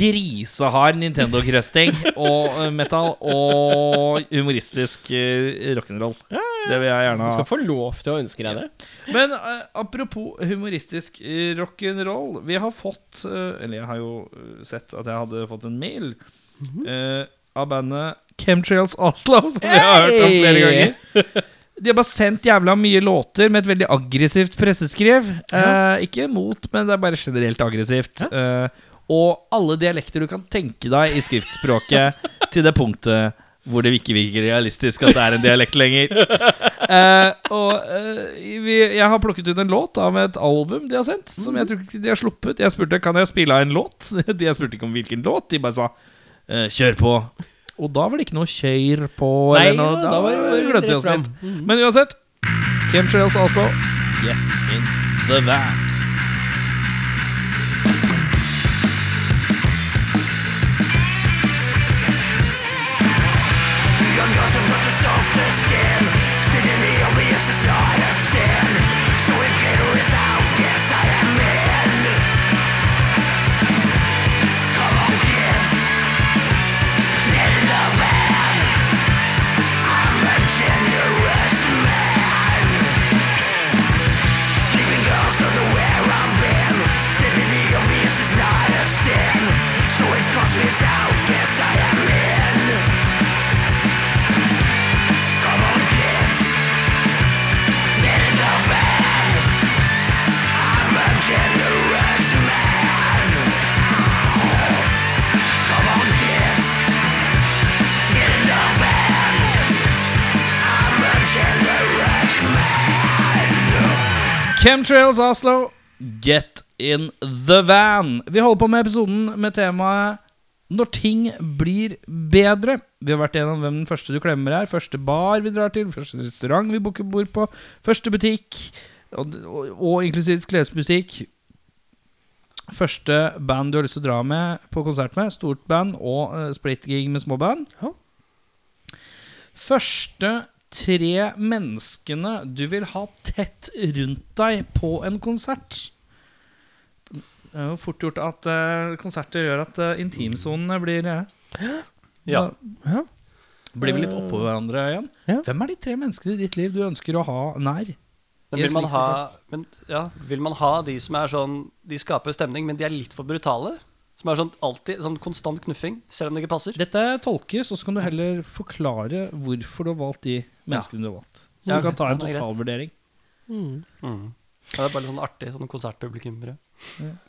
Speaker 3: grisehard Nintendo-krøsting og eh, metal og humoristisk eh, rock'n'roll. Det vil jeg
Speaker 2: Du
Speaker 3: gjerne ha.
Speaker 2: skal få lov til å ønske deg det.
Speaker 3: Men eh, apropos humoristisk eh, rock'n'roll. Vi har fått eh, Eller jeg har jo eh, sett at jeg hadde fått en mail eh, av bandet Chemtrails Oslo, som vi har hørt om flere
Speaker 2: Hey!
Speaker 3: ganger. De har bare sendt jævla mye låter med et veldig aggressivt presseskriv. Eh, ikke mot, men det er bare generelt aggressivt. Eh, og alle dialekter du kan tenke deg i skriftspråket, til det punktet hvor det ikke virker realistisk at det er en dialekt lenger. Eh, og eh, vi, jeg har plukket ut en låt av et album de har sendt, som
Speaker 2: Mm.
Speaker 3: jeg tror ikke de har sluppet. Jeg spurte kan jeg spille av en låt. De jeg spurte ikke om hvilken låt. De bare sa eh, 'kjør på'. Og da var det ikke noe 'kjør på'
Speaker 2: Nei,
Speaker 3: eller noe.
Speaker 2: ja,
Speaker 3: Da,
Speaker 2: da var
Speaker 3: var
Speaker 2: det
Speaker 3: glemte vi
Speaker 2: rett
Speaker 3: oss
Speaker 2: fram. Mm.
Speaker 3: litt. Men uansett Kim Trails altså. Get in the van.
Speaker 6: Let's
Speaker 3: Chemtrails Oslo, get in the van. Vi holder på med episoden med temaet når ting blir bedre. Vi har vært gjennom hvem den første du klemmer er, første bar vi drar til, første restaurant vi booker bord på, første butikk, og, og, og inklusivt klesbutikk. Første band du har lyst til å dra med på konsert med, stort band og eh, splitgig med små band. Første tre menneskene du vil ha tett rundt deg på en konsert. Det er jo fort gjort at eh, konserter gjør at eh, intimsonene blir eh,
Speaker 4: Ja.
Speaker 3: da- Blir vi litt oppå hverandre igjen?
Speaker 2: Ja.
Speaker 3: Hvem er de tre menneskene i ditt liv du ønsker å ha nær?
Speaker 4: Men vil man ha, men, ja, vil man ha de som er sånn De skaper stemning, men de er litt for brutale? Som er sånn alltid sånn konstant knuffing, selv om det ikke passer?
Speaker 3: Dette tolkes, og så kan du heller forklare hvorfor du har valgt de menneskene du har valgt. Så
Speaker 4: Ja,
Speaker 3: du kan ta en
Speaker 4: det er greit.
Speaker 3: totalvurdering.
Speaker 4: Mm. Ja, det er bare litt sånn artig sånn konsertpublikummere.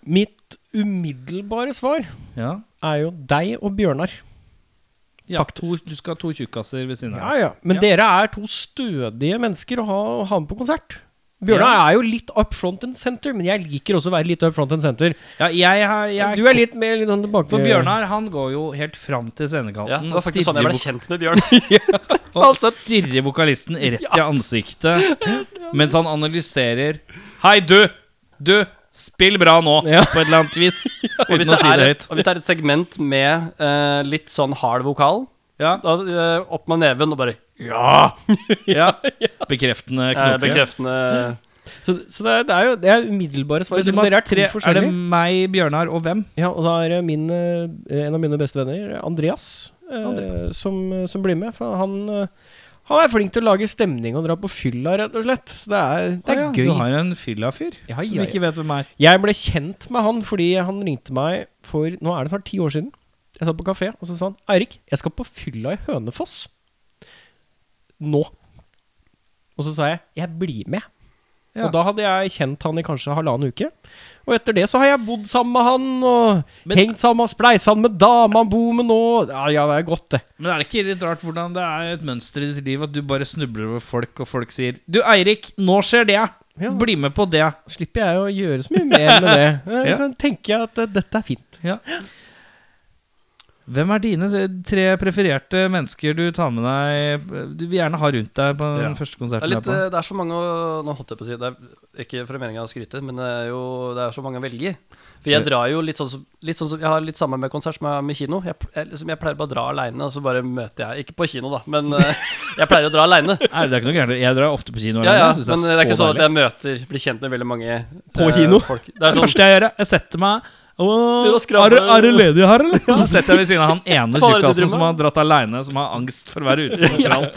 Speaker 2: Mitt umiddelbare svar
Speaker 3: Ja.
Speaker 2: er jo deg og Bjørnar.
Speaker 3: Ja, to,
Speaker 2: Faktisk.
Speaker 3: du skal ha to tjukkaser ved siden av.
Speaker 2: Ja, ja. Men
Speaker 3: Ja.
Speaker 2: dere er to stødige mennesker å ha, å ha med på konsert. Bjørnar er jo litt up front and center, men jeg liker også å være litt up front and center.
Speaker 3: Ja, jeg, har- jeg,
Speaker 2: Du er litt mer litt sånn tilbake
Speaker 3: For Bjørnar han går jo helt fram til
Speaker 4: Ja,
Speaker 3: scenekanten
Speaker 4: det
Speaker 3: og,
Speaker 4: var faktisk sånn
Speaker 3: stirrer
Speaker 4: jeg ble
Speaker 3: vok-
Speaker 4: kjent med Bjørn.
Speaker 3: og stirrer vokalisten rett i ansiktet mens han analyserer Hei, du! Du! Spill bra nå!
Speaker 2: Ja.
Speaker 3: På et eller annet vis.
Speaker 4: Og hvis,
Speaker 3: Uten å
Speaker 4: det
Speaker 3: si
Speaker 4: er,
Speaker 3: det høyt.
Speaker 4: og hvis det er et segment med eh, litt sånn hard vokal,
Speaker 3: Ja,
Speaker 4: da eh, opp med neven og bare
Speaker 3: ja. Bekreftende
Speaker 4: eh,
Speaker 3: knoke.
Speaker 4: bekreftende
Speaker 2: Så, så det, er, det er jo det er umiddelbare svar.
Speaker 3: Men du
Speaker 2: Selv
Speaker 3: må
Speaker 2: om
Speaker 3: ha
Speaker 2: dere er
Speaker 3: tre,
Speaker 2: tre
Speaker 3: er det
Speaker 2: forskjellige.
Speaker 3: meg, Bjørnar og hvem?
Speaker 2: Ja, og da er det min, eh, en av mine beste venner, Andreas, eh,
Speaker 3: Andreas.
Speaker 2: Som, eh, som blir med. For han, eh, han er flink til å lage stemning og dra på fylla, rett og slett. Så det er, det er
Speaker 3: Å ja,
Speaker 2: gøy.
Speaker 3: Du har en fylla-fyr
Speaker 2: Ja,
Speaker 3: som
Speaker 2: ja,
Speaker 3: vi ikke vet hvem er.
Speaker 2: Jeg ble kjent med han fordi han ringte meg for Nå er det snart ti år siden. Jeg satt på kafé, og så sa han Eirik, jeg skal på fylla i Hønefoss. Nå. Og så sa jeg jeg blir med.
Speaker 3: Ja.
Speaker 2: Og da hadde jeg kjent han i kanskje halvannen uke. Og etter det så har jeg bodd sammen med han, og
Speaker 3: Men-
Speaker 2: hengt sammen, spleisa han med dama han bor med nå. Ja, ja, det er godt, det.
Speaker 3: Men er det ikke litt rart hvordan det er et mønster i ditt liv at du bare snubler over folk, og folk sier Du, Eirik, nå skjer det!
Speaker 2: Ja.
Speaker 3: Bli med på det!
Speaker 2: Slipper jeg å gjøre så mye mer med det. Jeg
Speaker 3: Ja.
Speaker 2: kan tenke at eh, dette er fint.
Speaker 3: Hvem er dine tre prefererte mennesker du tar med deg eh, Du vil gjerne ha rundt deg på den
Speaker 4: Ja.
Speaker 3: første
Speaker 4: det er,
Speaker 3: konserten?
Speaker 4: litt,
Speaker 3: du
Speaker 4: eh,
Speaker 3: er på?
Speaker 4: det er så mange å Nå holdt jeg på å si det er Ikke for meninga å skryte, men det er jo det er så mange å velge i. For jeg drar jo litt sånn som litt sånn som- Jeg har litt samme med konsert som jeg har med kino. Jeg, jeg, liksom, jeg pleier bare å dra aleine, og så bare møter jeg Ikke på kino, da, men eh, jeg pleier å dra aleine.
Speaker 3: Nei, det er ikke noe gærent. Jeg drar ofte på kino.
Speaker 4: eh, Ja, ja,
Speaker 3: alene. Jeg synes
Speaker 4: men det er ikke sånn
Speaker 3: deilig.
Speaker 4: at jeg møter Blir kjent med veldig mange
Speaker 2: På
Speaker 4: eh,
Speaker 2: kino?
Speaker 4: folk. Det er
Speaker 3: Det
Speaker 4: sånn
Speaker 3: første jeg gjør, er jeg setter meg Åh,
Speaker 4: Du, da
Speaker 3: er,
Speaker 4: skravler-
Speaker 3: det- er det ledig her, eller? Og Så setter jeg ved siden av han ene
Speaker 4: Faen, er det du
Speaker 3: tjukkasen
Speaker 4: drømmer?
Speaker 3: som har dratt aleine, som har angst for å være ute. og alt.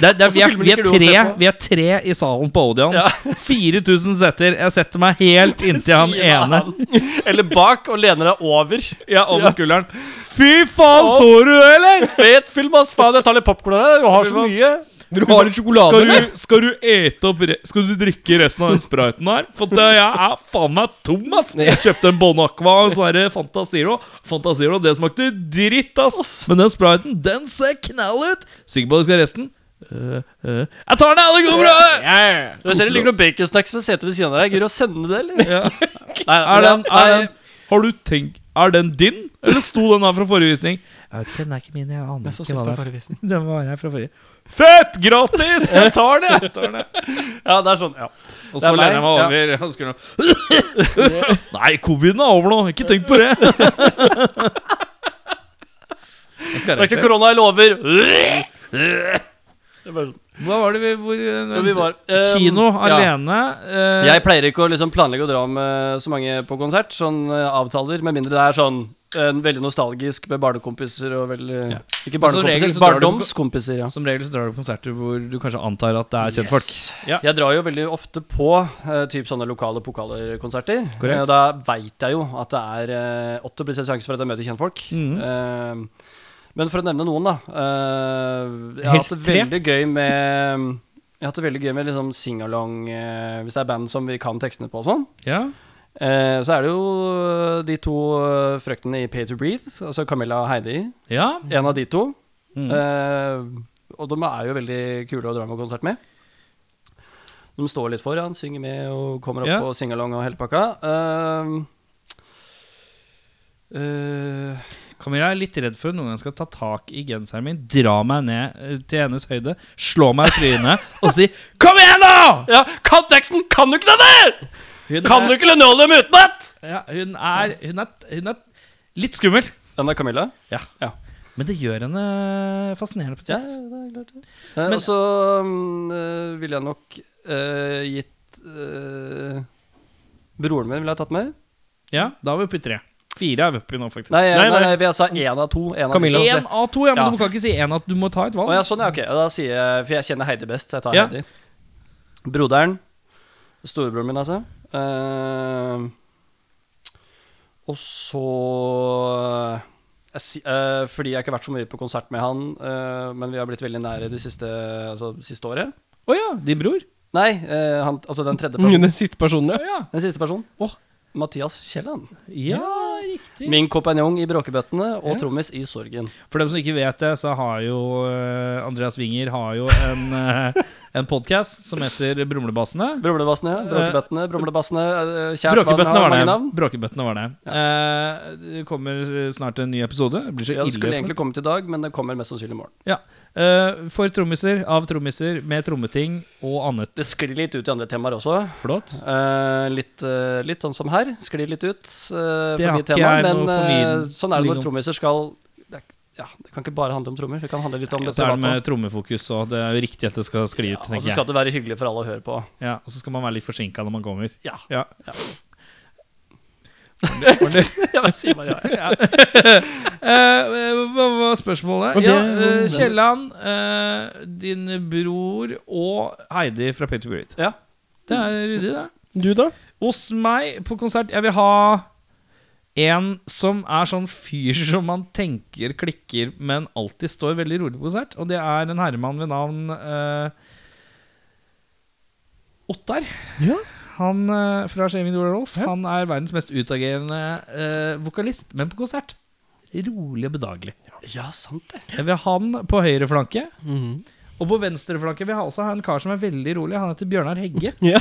Speaker 3: Det, er- det, er- vi, er,
Speaker 4: filmer
Speaker 3: vi,
Speaker 4: ikke
Speaker 3: er
Speaker 4: du å se
Speaker 3: tre,
Speaker 4: på.
Speaker 3: vi er tre i salen på Odeon.
Speaker 4: Ja.
Speaker 3: 4000 setter. Jeg setter meg helt inntil han
Speaker 4: siden av
Speaker 3: ene.
Speaker 4: han. Eller bak, og lener deg over.
Speaker 3: Ja, over skulderen. Fy faen, så du det, eller?
Speaker 4: Fet film, ass! Faen, jeg tar litt popkorn her. Du har så mye.
Speaker 2: Du har litt sjokolade,
Speaker 3: Skal
Speaker 2: eller?
Speaker 3: du, skal du ete opp re Skal du drikke resten av den spriten her? For det, jeg er faen meg tom, ass. Jeg kjøpte en Bon Aqua og så er det Fanta Zero. Fanta Zero, det smakte dritt, ass. Men den spriten, den ser knall ut. Sikker på at du skal ha resten? Øh, øh. Jeg tar den, jeg. Det går bra.
Speaker 4: Du ser det ligger noen baconsnacks ved setet ved siden av deg. Gidder du å sende det, eller? Nei,
Speaker 3: Er den,
Speaker 4: nei,
Speaker 3: er den Har du tenkt Er den din? Eller sto den her fra forrige visning? Jeg vet ikke, den er ikke min. Jeg aner
Speaker 4: Jeg så sykt fra forrige visning.
Speaker 3: Den var her fra forrige. Fett! Gratis!
Speaker 4: Jeg tar det! Jeg tar det. Ja, det er sånn. Ja.
Speaker 3: Og
Speaker 4: Det
Speaker 3: så
Speaker 4: er
Speaker 3: lener jeg meg
Speaker 4: meg,
Speaker 3: over og skriver noe. Nei, coviden er over nå. Ikke tenk på det.
Speaker 4: Det er ikke korona, jeg lover. Det er bare sånn.
Speaker 3: Hva var det vi ehm, hvor,
Speaker 4: Men Vi var, eh,
Speaker 3: Kino
Speaker 4: ja.
Speaker 3: alene. eh,
Speaker 4: Jeg pleier ikke å liksom planlegge å dra med så mange på konsert, sånn eh, avtaler, med mindre det er sånn en veldig nostalgisk med barnekompiser og veldig
Speaker 3: Ja.
Speaker 4: Ikke
Speaker 3: Men som regel så drar du
Speaker 4: barnekompiser,
Speaker 3: på-
Speaker 4: barndomskompiser, ja.
Speaker 3: Som regel så drar du på konserter hvor du kanskje antar at det er kjente folk.
Speaker 4: Yes.
Speaker 3: Ja.
Speaker 4: Jeg drar jo veldig ofte på eh, typ sånne lokale pokalerkonserter.
Speaker 3: Korrekt.
Speaker 4: Eh, da veit jeg jo at det er eh, 80 sjanse for at jeg møter kjentfolk.
Speaker 3: Mhm.
Speaker 4: Eh, men for å nevne noen, da. eh, jeg har hatt
Speaker 2: Helst
Speaker 4: det
Speaker 2: tre.
Speaker 4: veldig gøy med Jeg har hatt det veldig gøy med liksom singalong, eh, hvis det er band som vi kan tekstene på og sånn.
Speaker 3: Ja.
Speaker 4: Eh, så er det jo de to eh, frøknene i Pay to Breathe, altså Camilla og Heidi.
Speaker 3: ja.
Speaker 4: En av de to.
Speaker 3: Mm.
Speaker 4: Eh, og de er jo veldig kule å dra med konsert med. De står litt foran, synger med og kommer opp
Speaker 3: Ja.
Speaker 4: på singalong og hele pakka. Ehm, eh,
Speaker 3: Kamilla er litt redd for at noen gang skal ta tak i genseren min, dra meg ned eh, til hennes høyde, slå meg i trynet og si 'Kom igjen, nå!'
Speaker 4: ja, konteksten! Kan du ikke den der?!
Speaker 3: Hun
Speaker 4: Kan
Speaker 3: er-
Speaker 4: du ikke linoleum utenat?!
Speaker 3: Ja, hun er, hun er, hun er litt skummel.
Speaker 4: Den er Camilla.
Speaker 3: Men det gjør henne fascinerende på et
Speaker 4: Ja,
Speaker 3: vis.
Speaker 4: det er klart det.
Speaker 3: Men-
Speaker 4: Eh, og så mm, eh, ville jeg nok eh, gitt eh, Broren min ville jeg tatt med.
Speaker 3: Ja, da har vi oppe i tre. Fire er vi oppe i nå, faktisk.
Speaker 4: Nei,
Speaker 2: Nei,
Speaker 4: nei, nei,
Speaker 2: nei.
Speaker 4: jeg sa én av to. En av
Speaker 2: Camilla.
Speaker 4: to.
Speaker 3: Én av to, ja, men
Speaker 4: Ja.
Speaker 3: du kan ikke si én at du må ta et
Speaker 4: Å
Speaker 3: valg.
Speaker 4: ja, sånn ja, ok. Da sier jeg, for jeg kjenner Heidi best, så jeg tar
Speaker 3: Ja.
Speaker 4: Heidi. Broderen. Storebroren min, altså. Ehm, og så jeg, si- eh, Fordi jeg har ikke vært så mye på konsert med han, eh, men vi har blitt veldig nære det siste, altså, siste året.
Speaker 3: Å ja, din bror?
Speaker 4: Nei, eh, han, altså den tredje personen.
Speaker 2: Den siste personen, ja.
Speaker 3: Å ja.
Speaker 4: Den siste personen.
Speaker 3: Åh.
Speaker 4: Mathias Kielland.
Speaker 3: ja, riktig.
Speaker 4: Min kompanjong i Bråkebøttene og
Speaker 3: Ja.
Speaker 4: trommis i Sorgen.
Speaker 3: For dem som ikke vet det, så har jo eh, Andreas Winger har jo en, eh, en podkast som heter Brumlebassene.
Speaker 4: Brumlebassene, Bråkebøttene, Brumlebassene. eh, Kjært barn
Speaker 3: Eh, Bråkebøttene
Speaker 4: har
Speaker 3: var
Speaker 4: mange
Speaker 3: det.
Speaker 4: navn.
Speaker 3: Bråkebøttene var det. Eh, det kommer snart en ny episode. Det blir så
Speaker 4: Ja, det
Speaker 3: ille.
Speaker 4: skulle
Speaker 3: for-
Speaker 4: egentlig kommet i dag, men det kommer mest sannsynlig i morgen.
Speaker 3: Eh, for trommiser, av trommiser, med trommeting og annet.
Speaker 4: Det sklir litt ut i andre temaer også.
Speaker 3: Flott.
Speaker 4: Eh, litt, eh, litt sånn som her. Sklir litt ut. eh,
Speaker 3: Det har
Speaker 4: forbi
Speaker 3: ikke
Speaker 4: temaet,
Speaker 3: jeg
Speaker 4: men
Speaker 3: noe formidling-
Speaker 4: eh, sånn er
Speaker 3: formidling
Speaker 4: det
Speaker 3: om.
Speaker 4: når trommiser skal det, er ikke- ja, det kan ikke bare handle om trommer. Det kan handle litt om
Speaker 3: Og
Speaker 4: det
Speaker 3: så er det
Speaker 4: private.
Speaker 3: med trommefokus, og det er jo riktig at det skal skli ut,
Speaker 4: Ja, og
Speaker 3: tenker
Speaker 4: så skal
Speaker 3: jeg.
Speaker 4: det være hyggelig for alle å høre på.
Speaker 3: Ja, og så skal man være litt forsinka når man kommer.
Speaker 4: Ja.
Speaker 3: Ja.
Speaker 4: ja, men si bare ja.
Speaker 3: Ja. Eh, hva var spørsmålet?
Speaker 2: Og det-
Speaker 3: Ja, eh, Kielland, eh, din bror og Heidi fra Paint to Great.
Speaker 4: Ja.
Speaker 3: Det er ryddig, det.
Speaker 2: Du, da?
Speaker 3: Hos meg på konsert Jeg vil ha en som er sånn fyr som man tenker klikker, men alltid står veldig rolig på konsert. Og det er en herremann ved navn eh, Ottar.
Speaker 2: Ja.
Speaker 3: Han eh, fra Shaving Dora Rolf. Han er verdens mest utagerende eh, vokalist, men på konsert rolig og bedagelig.
Speaker 4: ja, sant det.
Speaker 3: Jeg vil ha han på høyre flanke. Og på venstre flanke vil jeg ha også ha en kar som er veldig rolig. Han heter Bjørnar Hegge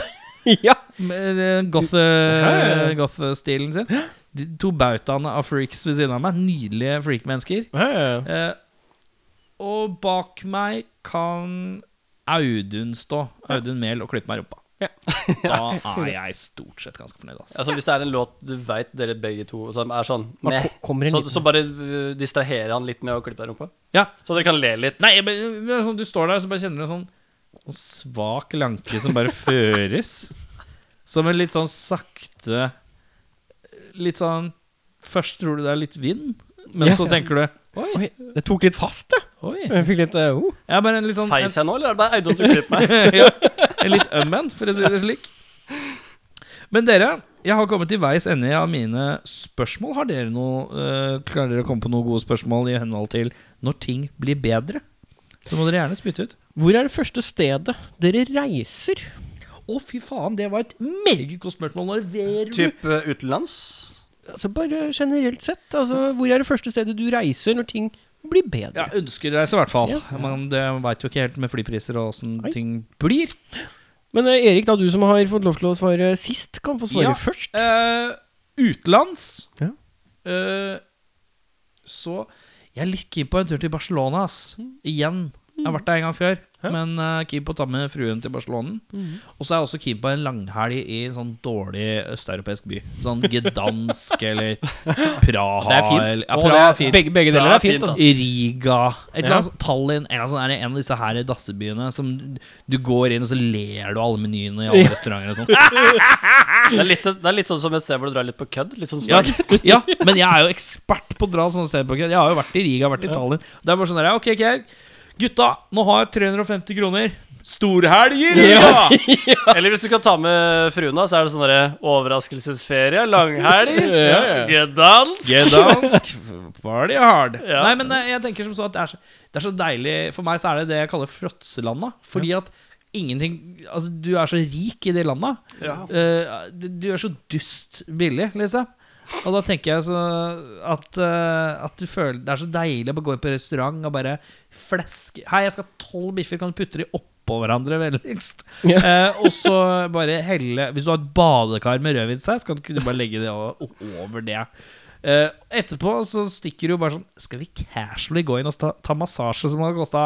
Speaker 2: ja.
Speaker 3: med eh, goth,
Speaker 2: ja, ja.
Speaker 3: goth-stilen sin. De to bautaene av freaks ved siden av meg. Nydelige freak-mennesker. Eh, og bak meg kan Audun stå. Audun Mehl og klippe meg i rumpa. Da er jeg stort sett ganske fornøyd. ass.
Speaker 4: Altså, hvis det er en låt du veit dere begge to som er sånn
Speaker 2: Bare
Speaker 4: meh,
Speaker 2: ko- kommer en
Speaker 4: så,
Speaker 2: liten-
Speaker 4: så bare uh, distraherer han litt med å klippe deg i rumpa?
Speaker 3: Ja.
Speaker 4: Så dere kan le litt?
Speaker 3: Nei, men, men det er sånn, du står der og så bare kjenner du en sånn en svak lanke som bare føres. Som en litt sånn sakte Litt sånn Først tror du det er litt vind, men
Speaker 2: Ja.
Speaker 3: så tenker du Oi,
Speaker 2: Oi, det tok litt fast, det.
Speaker 3: oi.
Speaker 2: Jeg fikk litt eh, oh.
Speaker 3: Jeg er bare en litt sånn
Speaker 4: Feis jeg nå, eller er det bare Audun som klipper meg?
Speaker 3: ja, En litt øm en, for å si det slik. Men dere, jeg har kommet til veis ende av mine spørsmål. Har dere noe eh, Klarer dere å komme på noen gode spørsmål i henhold til når ting blir bedre? Så må dere gjerne spytte ut.
Speaker 2: Hvor er det første stedet dere reiser?
Speaker 3: Å, fy faen, det var et meget godt spørsmål. Når Veru
Speaker 4: Typ uh, utenlands?
Speaker 2: Altså Bare generelt sett. Altså, hvor er det første stedet du reiser når ting blir
Speaker 3: ja,
Speaker 2: bedre?
Speaker 3: ønsker reise, i hvert fall.
Speaker 2: Ja.
Speaker 3: Men det veit jo ikke helt med flypriser og åssen
Speaker 2: Nei.
Speaker 3: ting blir.
Speaker 2: Men eh, Erik, da du som har fått lov til å svare sist, kan få svare
Speaker 3: Ja.
Speaker 2: først.
Speaker 3: Eh, utenlands
Speaker 2: Ja.
Speaker 3: eh, Så Jeg er litt keen på en tur til Barcelona, ass. Igjen. Jeg har vært der en gang før.
Speaker 2: Ja. Mhm.
Speaker 3: Men eh, keen på å ta med fruen til Barcelona. Og så er jeg også keen på en langhelg i en sånn dårlig østeuropeisk by. Sånn Gdansk eller Praha.
Speaker 2: Det er fint. Å,
Speaker 3: Eller, ja,
Speaker 2: det
Speaker 3: Praha
Speaker 2: er
Speaker 3: er fint.
Speaker 2: Begge, begge deler
Speaker 4: Bra,
Speaker 2: er fint.
Speaker 4: fint,
Speaker 2: altså.
Speaker 3: Riga Et eller
Speaker 2: Ja.
Speaker 3: annet sånt- Tallinn En eller annen sånn er det en av disse her dassebyene som du går inn, og så ler du av alle menyene i alle restauranter og sånn.
Speaker 4: Det er, litt, det er litt sånn som et sted hvor du drar litt på kødd. Litt sånn som
Speaker 3: Ja, ja, men jeg er jo ekspert på å dra sånne steder på kødd. Jeg har jo vært i Riga, vært i Tallinn. Det er bare sånn der, ok, ok Gutta, nå har jeg 350 kroner. Storhelg i Riga!
Speaker 4: Eller hvis du skal ta med fruen, da, så er det sånn derre overraskelsesferie, langhelg, gdansk
Speaker 3: Gdansk, party hard.
Speaker 4: Ja.
Speaker 3: Nei, men eh, jeg tenker som så at det er så, det er så deilig For meg så er det det jeg kaller fråtselanda. Fordi at ingenting Altså, du er så rik i det landa.
Speaker 4: Ja.
Speaker 3: Eh, du du er så dust billig, liksom. Og da tenker jeg så at, eh, at du føler det er så deilig å bare gå inn på restaurant og bare fleske Hei, jeg skal ha tolv biffer, kan du putte de oppi oppå hverandre vennligst.
Speaker 2: Ja.
Speaker 3: Eh, og så bare helle Hvis du har et badekar med rødvinssaus, kan du ikke bare legge det o- over det. Eh, etterpå så stikker du bare sånn Skal vi casually gå inn og ta, ta massasje som har kosta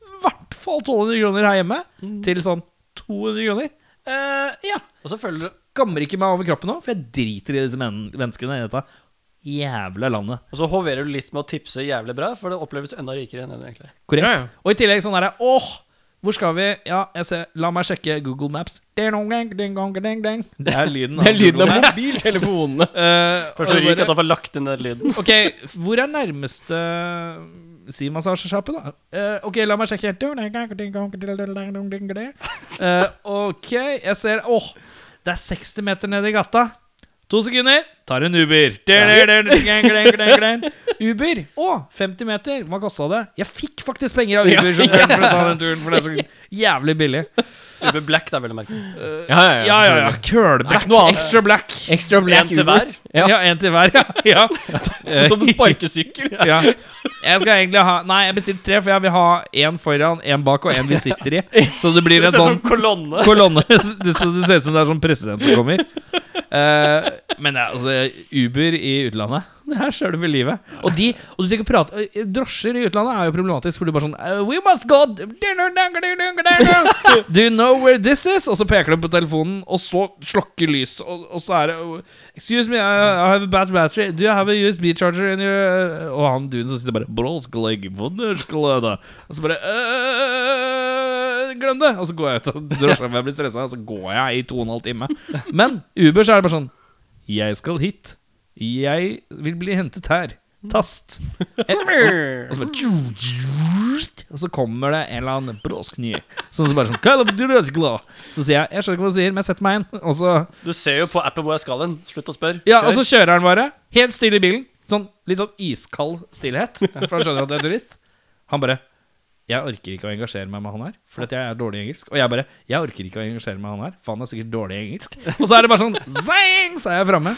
Speaker 3: i hvert fall 1200 kroner her hjemme, til sånn 200 kroner? Eh, ja.
Speaker 4: Og så føler du
Speaker 3: Skammer ikke meg over kroppen nå, for jeg driter i disse men menneskene i dette jævla landet.
Speaker 4: Og så hoverer du litt med å tipse jævlig bra, for det oppleves du enda rikere enn det du egentlig er.
Speaker 3: Korrekt.
Speaker 2: Ja, ja.
Speaker 3: Og i tillegg sånn derre Åh, hvor skal vi? Ja, jeg ser La meg sjekke Google Maps. Ding, dong, ding, ding, dong, ding, ding. Det er lyden
Speaker 2: Det er lyden av
Speaker 3: Google Maps.
Speaker 2: mobiltelefonene.
Speaker 3: Eh,
Speaker 4: Først
Speaker 3: og
Speaker 4: så ryker at
Speaker 3: bare,
Speaker 4: han får lagt inn den lyden.
Speaker 3: ok, hvor er nærmeste Si massasjesjappe, da. Eh, ok, la meg sjekke. Ding, dong, ding, dong, ding, dong, ding, ding, ding. Eh, ok, jeg ser Åh, det er 60 meter ned i gata. To sekunder, tar en Uber. Ding, ding, ding, ding, ding, ding, ding. Uber. Å, 50 meter. Hva kosta det? Jeg fikk faktisk penger av Uber. sjåføren for å ta den turen, for det er så jævlig billig.
Speaker 4: Uber Black, det er veldig merkelig.
Speaker 2: Ja, ja,
Speaker 3: Ja, ja, ja.
Speaker 2: selvfølgelig.
Speaker 3: Kølblack.
Speaker 2: noe annet.
Speaker 3: Extra black.
Speaker 2: Extra black
Speaker 4: En til
Speaker 2: Uber.
Speaker 4: hver?
Speaker 2: Ja.
Speaker 3: Ja, en til hver. Ja. ja.
Speaker 2: Som en sparkesykkel.
Speaker 3: ja. Jeg skal egentlig ha Nei, jeg bestilte tre, for jeg vil ha én foran, én bak og én vi sitter i. Så det blir en sånn
Speaker 4: kolonne.
Speaker 3: kolonne. Det, så det ser ut som det er sånn president som kommer. Eh, men det er altså Uber i utlandet Det her ser du ved livet. Og de Og du tenker prate eh, Drosjer i utlandet er jo problematisk, for du bare sånn eh, We must go Do you know where this is? Og så peker du på telefonen, og så slukker lyset, og, og så er det Excuse me, I, I have a bad battery. Do you have a USB charger in your uh, Og han duden som sitter bare «Bråsklegg, vondersklede». Og så bare «Øh, Glem det! Og så går jeg ut av drosja, for jeg blir stressa, og så går jeg i to og en halv time. Men Uber så er det bare sånn Jeg skal hit. Jeg vil bli hentet her. Tast. En, og, så bare, og så kommer det en eller annen bråskny. Sånn som bare sånn «Kalla, du er ikke glad». Så sier jeg Jeg skjønner ikke hva du sier, men jeg setter meg inn. Og så
Speaker 4: Du ser jo på appen hvor jeg skal hen. Slutt å spørre.
Speaker 3: ja,
Speaker 4: Kjør.
Speaker 2: altså,
Speaker 3: og så kjører han bare, helt stille i bilen. Sånn, litt sånn iskald stillhet, for han skjønner at jeg er turist. Han bare Jeg orker ikke å engasjere meg med han her, for at jeg er dårlig i engelsk. Og jeg bare Jeg orker ikke å engasjere meg med han her, for han er sikkert dårlig i engelsk. Og så er det bare sånn Zang! Så er jeg framme.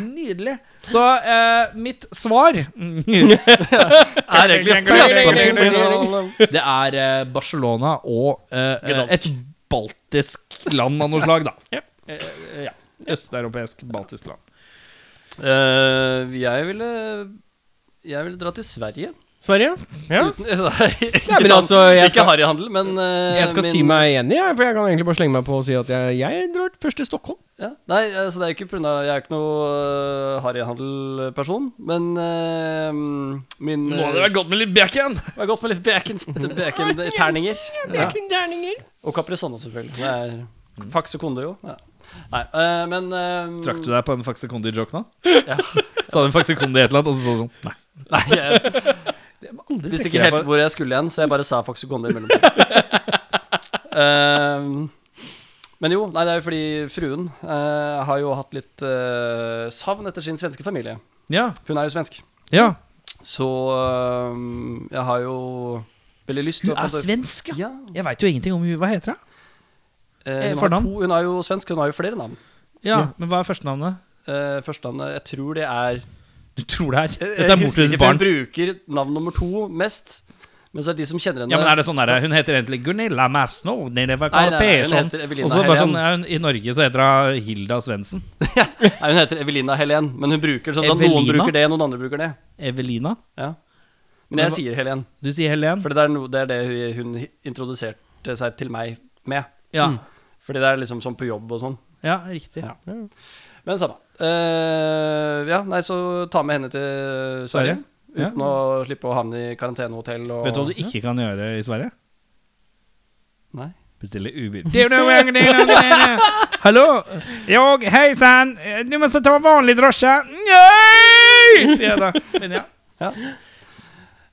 Speaker 3: Nydelig. Så eh, mitt svar Det
Speaker 4: er egentlig
Speaker 3: er eh, Barcelona og eh,
Speaker 4: Gdansk.
Speaker 3: et baltisk land av noe slag, da. Eh, eh, ja. Østeuropeisk, baltisk land.
Speaker 4: Eh, jeg ville Jeg ville dra til Sverige.
Speaker 2: Sverige? Ja.
Speaker 4: Uten, nei, ikke,
Speaker 2: men
Speaker 4: sånn-
Speaker 2: altså, jeg
Speaker 4: ikke
Speaker 2: skal-
Speaker 4: harryhandel, men eh,
Speaker 2: Jeg skal
Speaker 4: min-
Speaker 2: si meg enig, jeg, for jeg kan egentlig bare slenge meg på og si at jeg, jeg drar først til Stockholm.
Speaker 4: ja. Nei, altså, det er jo ikke pga. Jeg er ikke noe uh, harryhandelperson, men eh, min øh,
Speaker 3: Nå hadde det vært godt med litt backhand!
Speaker 4: Det var godt med litt bacon, bacon terninger. Ja. Og Caprisonne, selvfølgelig. Det er Fax og Kondo, jo. Ja. Nei, eh, men eh,
Speaker 3: Mm. Trakk du deg på en faksekundi-joke nå? Så hadde en faksekundi et eller annet, og så sånn Nei.
Speaker 4: Nei, jeg visste ikke helt hvor jeg skulle igjen, så jeg bare sa Fax og Kondo imellom. Eh, men jo, nei, det er jo fordi fruen eh, har jo hatt litt eh, savn etter sin svenske familie.
Speaker 3: Ja.
Speaker 4: Hun er jo svensk.
Speaker 3: ja.
Speaker 4: Så eh, jeg har jo veldig lyst til at-
Speaker 3: svensk,
Speaker 4: Ja,
Speaker 3: Jeg veit jo ingenting om hun. Hva heter hun?
Speaker 4: eh, hun, har
Speaker 3: Fornavn?
Speaker 4: to, hun er jo svensk, hun har jo flere navn.
Speaker 3: Ja, men hva er førstenavnet?
Speaker 4: Uh, Førstenavnet Jeg tror det er
Speaker 3: Du tror det er
Speaker 4: Jeg
Speaker 3: Dette er
Speaker 4: husker
Speaker 3: borti
Speaker 4: ikke,
Speaker 3: et
Speaker 4: for
Speaker 3: barn.
Speaker 4: Hun bruker navn nummer to mest. Men så er det de som kjenner henne
Speaker 3: Ja, men er det sånn der, Hun heter egentlig Gunilla Mersno. Nei, det var
Speaker 4: Nei, nei, nei, hun
Speaker 3: Persson.
Speaker 4: heter Evelina
Speaker 3: Og så bare sånn
Speaker 4: Helen.
Speaker 3: ja, hun, I Norge så heter hun Hilda Svendsen.
Speaker 4: Nei, hun heter Evelina Helen, men hun bruker sånn at noen
Speaker 3: Evelina?
Speaker 4: bruker det, noen andre bruker det.
Speaker 3: Evelina.
Speaker 4: Ja. Men
Speaker 3: Men
Speaker 4: jeg
Speaker 3: hva-
Speaker 4: sier Helen,
Speaker 3: Du sier Helen.
Speaker 4: for det er, no, det, er det hun- hun introduserte seg til meg med. Mm.
Speaker 3: Ja.
Speaker 4: Fordi det er liksom sånn på jobb og sånn.
Speaker 3: ja, riktig.
Speaker 4: Ja. Men samme. Eh, ja, nei, så ta med henne til Sverige.
Speaker 3: Sverige? Ja.
Speaker 4: Uten å slippe å havne i karantenehotell og
Speaker 3: Vet du hva du ikke kan gjøre i Sverige?
Speaker 4: Nei.
Speaker 3: Bestille Uber.
Speaker 5: Hallå? Jag, hejsan! Eh, Du måste ta vanlig drosja. Nej!
Speaker 3: Sier jeg da. Men ja.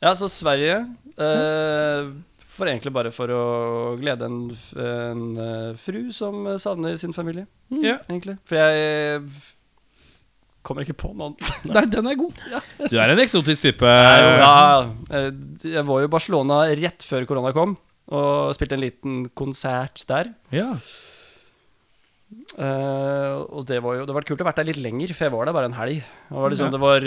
Speaker 4: Ja, så Sverige eh, For egentlig bare for å glede en, f- en eh, fru som eh, savner sin familie, mm,
Speaker 3: ja.
Speaker 4: egentlig. For jeg kommer ikke på noen
Speaker 3: Nei, den er god. Du er en eksotisk type.
Speaker 4: Ja, eh, jeg var jo i Barcelona rett før korona kom, og spilte en liten konsert der.
Speaker 3: Ja.
Speaker 4: Eh, og det var jo Det var kult å vært der litt lenger, for jeg var der bare en helg. Og det var liksom, det var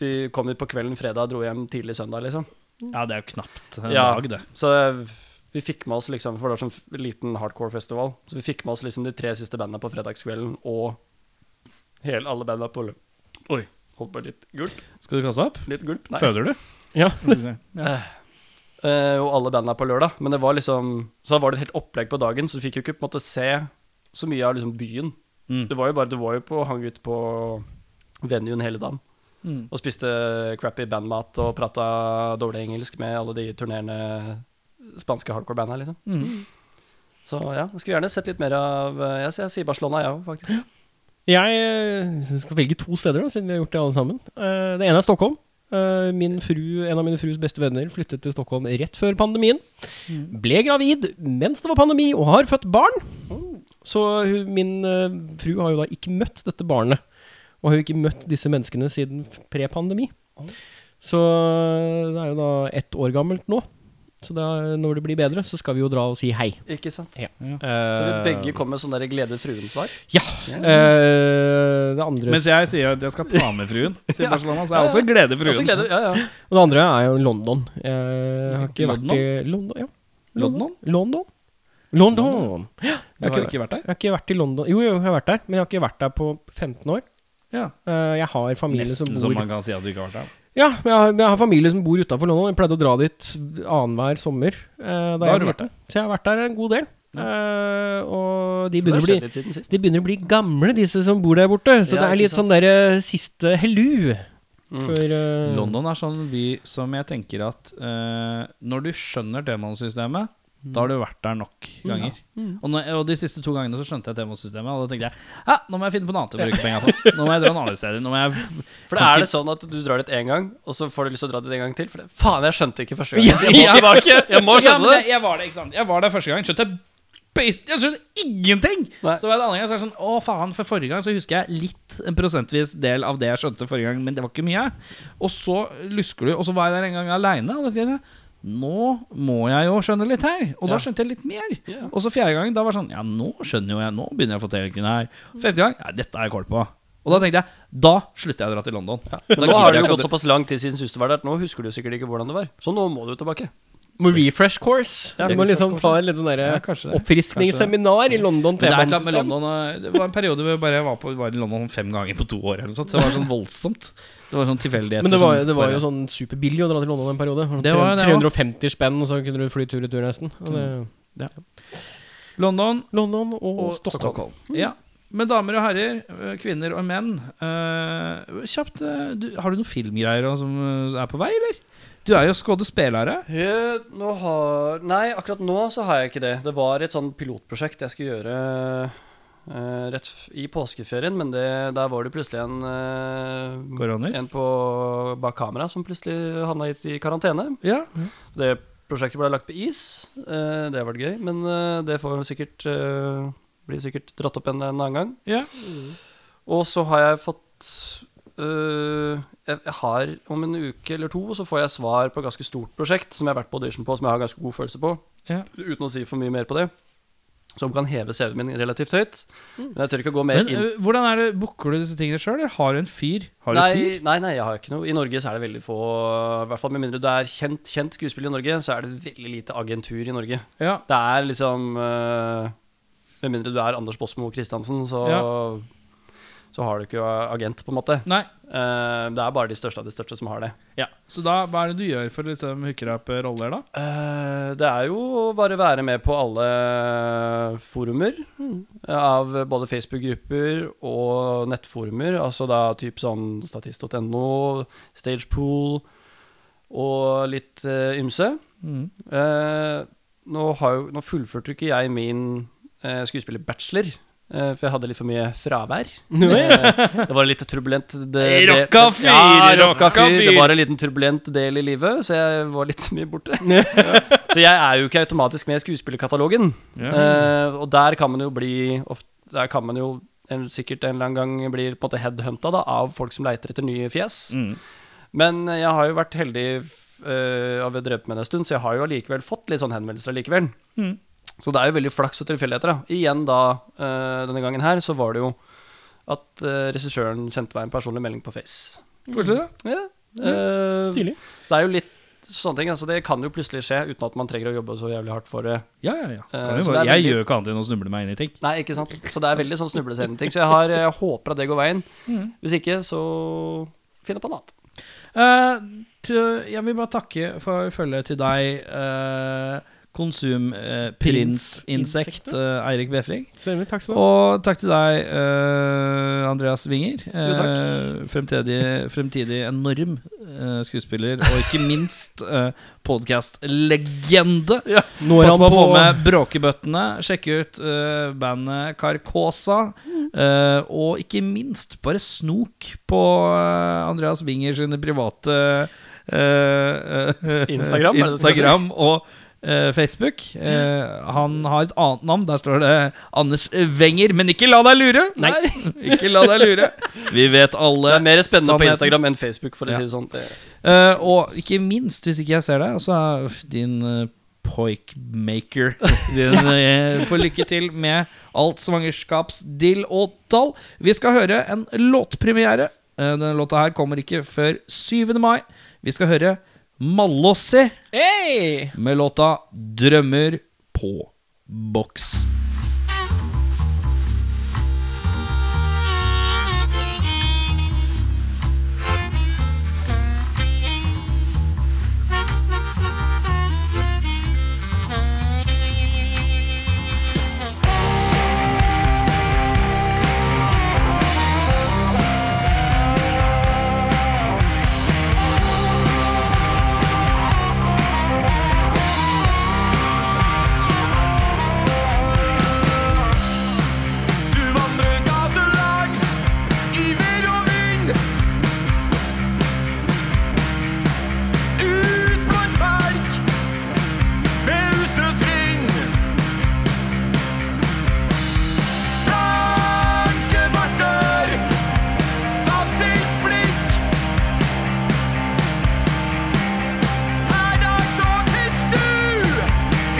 Speaker 4: Vi kom hit på kvelden fredag, dro hjem tidlig søndag, liksom.
Speaker 3: Ja, det er jo knapt en
Speaker 4: Ja.
Speaker 3: dag, det.
Speaker 4: Så jeg Vi fikk med oss liksom, for det var sånn liten hardcore-festival, så vi fikk med oss liksom de tre siste bandene på fredagskvelden, og hele, alle bandene på lø- Oi, holdt på litt gulp.
Speaker 3: Skal du kaste opp?
Speaker 4: Litt gulp, nei.
Speaker 3: Føder du?
Speaker 2: Ja.
Speaker 4: Eh, og alle bandene på lørdag, men det var liksom, så da var det et helt opplegg på dagen, så du fikk jo ikke på en måte se så mye av liksom byen.
Speaker 3: Mm.
Speaker 4: Det var jo bare, du var jo på, hang ut på venuen hele dagen,
Speaker 3: Mm.
Speaker 4: og spiste crappy bandmat, og pratet dårlig engelsk med alle de turnerende spanske hardcore-bandene, liksom.
Speaker 3: Mm.
Speaker 4: Så ja, jeg skulle gjerne sett litt mer av eh, Jeg, sier- jeg sier Barcelona, jeg òg, faktisk.
Speaker 2: Jeg eh, hvis vi skal velge to steder, da, siden vi har gjort det alle sammen. Eh, Det ene er Stockholm. Eh, Min fru, en av mine frus beste venner flyttet til Stockholm rett før pandemien. Ble gravid mens det var pandemi, og har født barn. Så hun, min eh, fru har jo da ikke møtt dette barnet. Og har jo ikke møtt disse menneskene siden f- pre-pandemi. Så eh, det er jo da ett år gammelt nå. Så da, når det blir bedre, så skal vi jo dra og si hei. Eh,
Speaker 4: Ikke sant? Så vi
Speaker 2: Så
Speaker 4: begge kom med sånn der glede fruen-svar.
Speaker 2: Ja. eh, det andre
Speaker 3: Mens jeg sier at jeg skal ta med fruen til Barcelona, så er jeg også gleder fruen.
Speaker 4: Også glede, ja, ja.
Speaker 2: Og det andre er jo London. Jeg har ikke
Speaker 3: London?
Speaker 2: vært i London, ja.
Speaker 3: London?
Speaker 2: London. London. Ja,
Speaker 3: Du
Speaker 2: Jeg, har ikke vært,
Speaker 3: vært der?
Speaker 2: jeg har ikke vært i London Jo, jo, jeg har vært der, men jeg har ikke vært der på 15 år.
Speaker 3: Ja.
Speaker 2: Eh, Jeg har familie
Speaker 3: Nesten
Speaker 2: som
Speaker 3: som
Speaker 2: bor
Speaker 3: man kan si at du ikke har vært der.
Speaker 2: Ja, men jeg har, men jeg har familie som bor utafor London. Jeg pleide å dra dit annenhver sommer. eh, Da,
Speaker 3: har
Speaker 2: jeg
Speaker 3: du
Speaker 2: var
Speaker 3: vært
Speaker 2: liten. Så jeg har vært der en god del. Eh, og de
Speaker 4: Det
Speaker 2: begynner
Speaker 4: har
Speaker 2: å bli
Speaker 4: skjedd litt siden sist.
Speaker 2: de begynner å bli gamle, disse som bor der borte. Så det
Speaker 4: Ja,
Speaker 2: er
Speaker 4: ikke
Speaker 2: litt sånn derre siste hellu. For eh,
Speaker 3: London er sånn by som jeg tenker at eh, når du skjønner demonsystemet, da har du vært der nok ganger. Og, når, og de siste to gangene så skjønte jeg demonsystemet, og da tenkte jeg ja, nå må jeg finne på noe annet å bruke penga på. Nå må jeg dra en annen sted. Nå må jeg
Speaker 4: For det
Speaker 3: Kan
Speaker 4: er
Speaker 3: ikke-
Speaker 4: det sånn at du drar dit én gang, og så får du lyst til å dra dit en gang til. For det, faen, jeg skjønte ikke første gang.
Speaker 3: Ja,
Speaker 4: Jeg må
Speaker 3: ja.
Speaker 4: tilbake! Jeg må
Speaker 3: Ja, men
Speaker 4: skjønne
Speaker 3: jeg, jeg var der, ikke sant? Jeg var der første gang. Skjønte beit- jeg skjønner ingenting!
Speaker 4: Nei.
Speaker 3: Så var det andre gang så er det sånn Å, faen, for forrige gang så husker jeg litt en prosentvis del av det jeg skjønte forrige gang, men det var ikke mye. Og så lusker du, og så var jeg der en gang aleine, og da tenkte jeg nå må jeg jo skjønne litt her. Og da skjønte jeg litt mer.
Speaker 4: Ja.
Speaker 3: Og så fjerde gangen, da var det sånn Ja, nå skjønner jo jeg. Nå begynner jeg å få til tingene her. Femte gang, ja, dette har jeg kål på. Og da tenkte jeg Da slutter jeg å dra til London.
Speaker 4: det. Nå har det jo gått såpass lang tid siden sist du var der, at nå husker du sikkert ikke hvordan det var. Så nå må du tilbake.
Speaker 2: Må refresh course.
Speaker 4: Ja,
Speaker 2: du må
Speaker 4: refresh
Speaker 2: liksom
Speaker 4: course,
Speaker 2: ta en litt sånn derre
Speaker 3: Ja, kanskje det.
Speaker 2: oppfriskningsseminar i London.
Speaker 3: Men det, er et eller annet med
Speaker 2: temaomsystem.
Speaker 3: London, eh, det var en periode hvor jeg bare var, på, var i London fem ganger på to år. Eller noe sånt. Det var sånn voldsomt. Det var sånn tilfeldigheter.
Speaker 2: Men det var,
Speaker 3: som
Speaker 2: det var jo
Speaker 3: bare-
Speaker 2: sånn superbillig å dra til London en periode.
Speaker 3: Det var det, ja.
Speaker 2: 350 spenn, og så kunne du fly tur-retur nesten. Og det,
Speaker 4: sånn-
Speaker 3: London
Speaker 2: London og,
Speaker 3: og
Speaker 2: Stockholm.
Speaker 3: Stockholm.
Speaker 4: Mm.
Speaker 3: Ja. Men damer og herrer, eh, kvinner og menn eh, Kjapt, eh, du, har du noen filmgreier også som eh, er på vei, eller? Du er jo skuespiller.
Speaker 4: nå har Nei, akkurat nå så har jeg ikke det. Det var et sånn pilotprosjekt jeg skulle gjøre eh, rett f- i påskeferien, men det, der var det plutselig en eh,
Speaker 3: Koroner.
Speaker 4: En på bak kamera som plutselig havna i, i karantene.
Speaker 3: Ja.
Speaker 4: Det prosjektet ble lagt på is. Eh, det har vært gøy, men eh, det får sikkert eh, blir sikkert dratt opp en, en annen gang.
Speaker 3: Ja.
Speaker 4: Og så har jeg fått eh, jeg, jeg har Om en uke eller to så får jeg svar på et ganske stort prosjekt som jeg har vært på audition på, som jeg har ganske god følelse på.
Speaker 3: Ja.
Speaker 4: Uten å si for mye mer på det. Som kan heve CV-en min relativt høyt. Men jeg tør ikke å gå mer
Speaker 3: Men
Speaker 4: inn
Speaker 3: eh, hvordan er det, booker du disse tingene sjøl, eller har du en fyr? Har du
Speaker 4: nei,
Speaker 3: fyr?
Speaker 4: nei, nei, jeg har ikke noe. I Norge så er det veldig få I hvert fall med mindre du er kjent, kjent skuespiller i Norge, så er det veldig lite agentur i Norge.
Speaker 3: Ja.
Speaker 4: Det er liksom eh, Med mindre du er Anders Bosmo Christiansen, så Så har du ikke agent, på en måte.
Speaker 3: Nei.
Speaker 4: Eh, det er bare de største av de største som har det.
Speaker 3: Ja. Så da, hva er det du gjør for å liksom, hooke deg opp eh, roller, da?
Speaker 4: Eh, det er jo å bare være med på alle forumer. eh, Av både Facebook-grupper og nettforumer. Altså da typ sånn statist.no, Stagepool og litt eh, ymse.
Speaker 3: Mm.
Speaker 4: Eh, nå, har jo, nå fullførte jo ikke jeg min eh, skuespillerbachelor. eh, for jeg hadde litt for mye fravær. Eh, det var litt turbulent det, det,
Speaker 3: Rocka fyr,
Speaker 4: Ja, rocka
Speaker 3: rocka
Speaker 4: fyr. Det
Speaker 3: fyr.
Speaker 4: var en liten turbulent del i livet, så jeg var litt mye borte. Ja. Så jeg er jo ikke automatisk med i skuespillerkatalogen. Eh, og der kan man jo bli ofte, Der kan man jo en, sikkert en eller annen gang bli på en måte headhunta da, av folk som leiter etter nye fjes.
Speaker 3: Mm.
Speaker 4: Men jeg har jo vært heldig f- øh, av å ha drevet med det en stund, så jeg har jo allikevel fått litt sånn henvendelser allikevel.
Speaker 3: Mm.
Speaker 4: Så det er jo veldig flaks og tilfeldigheter. da. Igjen da, øh, denne gangen her, så var det jo at øh,
Speaker 3: Mm.
Speaker 4: regissøren sendte meg en personlig melding på Face.
Speaker 3: Koselig, da.
Speaker 4: Ja, øh,
Speaker 2: Stilig.
Speaker 4: så det er jo litt sånne ting. Altså, det kan jo plutselig skje uten at man trenger å jobbe så jævlig hardt for det.
Speaker 3: Ja, ja, ja. Kan
Speaker 4: Eh,
Speaker 3: jo
Speaker 4: så
Speaker 3: bare, jeg
Speaker 4: det er veldig-
Speaker 3: gjør jo ikke annet enn å snuble meg inn i ting.
Speaker 4: Nei, ikke sant? Så det er veldig sånn snublescene-ting. Så jeg, har, jeg håper at det går veien. Hvis ikke, så finner jeg på noe annet.
Speaker 3: Eh, til, jeg vil bare takke for følget til deg, eh, konsumprinsininsekt
Speaker 2: Prinsinsekt,
Speaker 3: eh, Eirik Befring.
Speaker 2: Stemmer. Takk skal du ha.
Speaker 3: Og takk til deg, eh, Andreas Winger.
Speaker 4: Jo, takk.
Speaker 3: Eh, fremtidig, fremtidig enorm eh, skuespiller, og ikke minst uh, podkast-legende.
Speaker 2: Når
Speaker 3: Pass
Speaker 2: han
Speaker 3: på å få
Speaker 2: på-
Speaker 3: med bråkebøttene. Sjekke ut eh, bandet Carcosa. eh, og ikke minst, bare snok på eh, Andreas Winger sine private eh, eh,
Speaker 4: Instagram, er det det skal
Speaker 3: Instagram og eh, Facebook. Eh, han har et annet navn. Der står det Anders Wenger. Men ikke la deg lure!
Speaker 2: Nei.
Speaker 3: ikke la deg lure. Vi vet alle
Speaker 4: Det er mer spennende på
Speaker 3: sannheten.
Speaker 4: Instagram enn Facebook, for å
Speaker 3: Ja.
Speaker 4: si det sånn. Det-
Speaker 3: Eh, og ikke minst, hvis ikke jeg ser deg, så er din uh, poikmaker din, eh, Får lykke til med alt svangerskapsdill og tall. Vi skal høre en låtpremiere. Eh, denne låta her kommer ikke før 7. mai. Vi skal høre Mallåsi med låta 'Drømmer på boks'.
Speaker 6: Du vandrer gatelangs i vind og vind. Ut på et verk med ustøtt trinn. Blanke barter av sitt blikk. Hver dag så finnes du.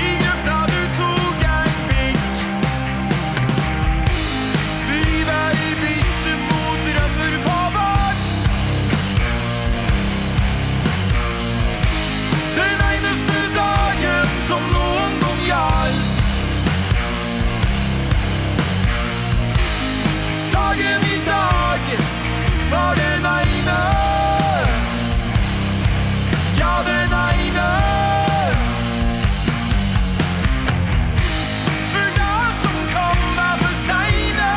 Speaker 6: I grøfta du tok en pikk. Livet i bytte mot drømmer på vakt Den eneste dagen som noen gang gjaldt Dagen i dag var den ene Ja, den ene For det som kom er for seine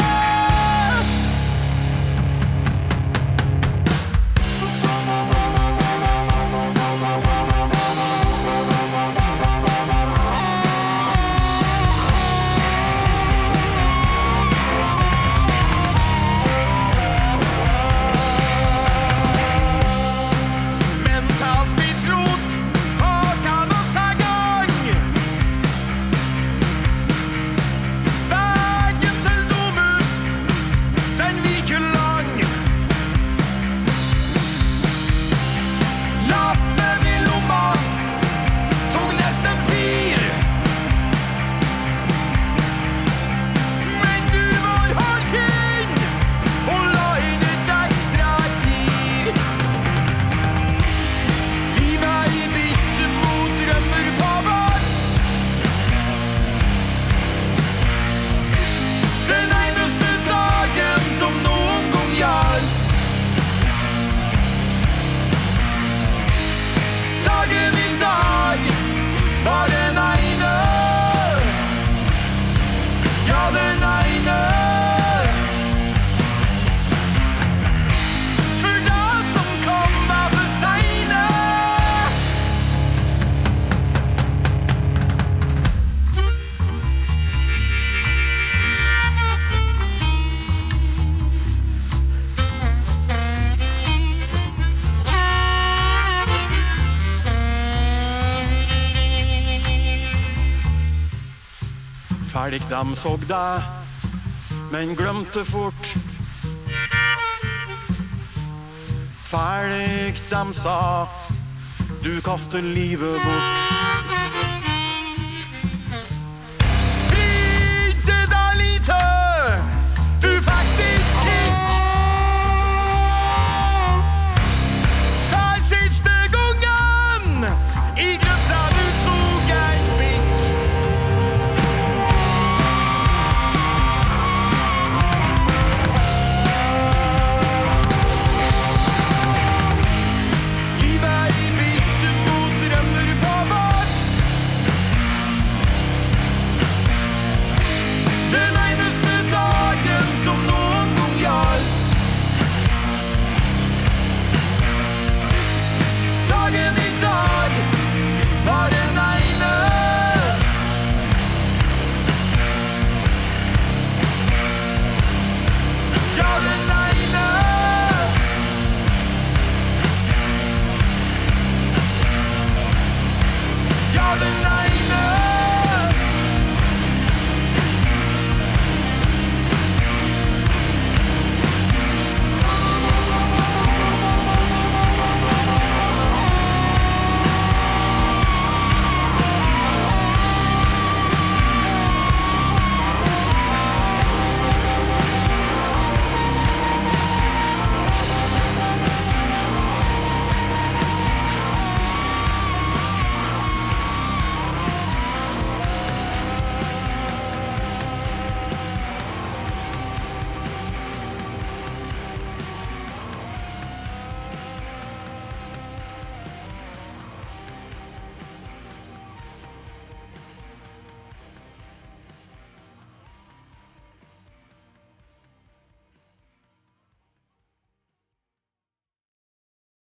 Speaker 6: Mentalspidsrot og kan oss ta gang. Veien til Domus, den viker lang. Lappen i lomma tok nesten fire. Men du var hardkinn og la inn et ekstra gir. Gi meg bitte mot drømmer på vakt. Den eneste dagen som noen gang gjaldt. Dagen i dag var den ene. Ja, den ene. For det som kom var for seine Ferdig dem såg deg, men glemte fort Ferdig dem sa Du kaster livet bort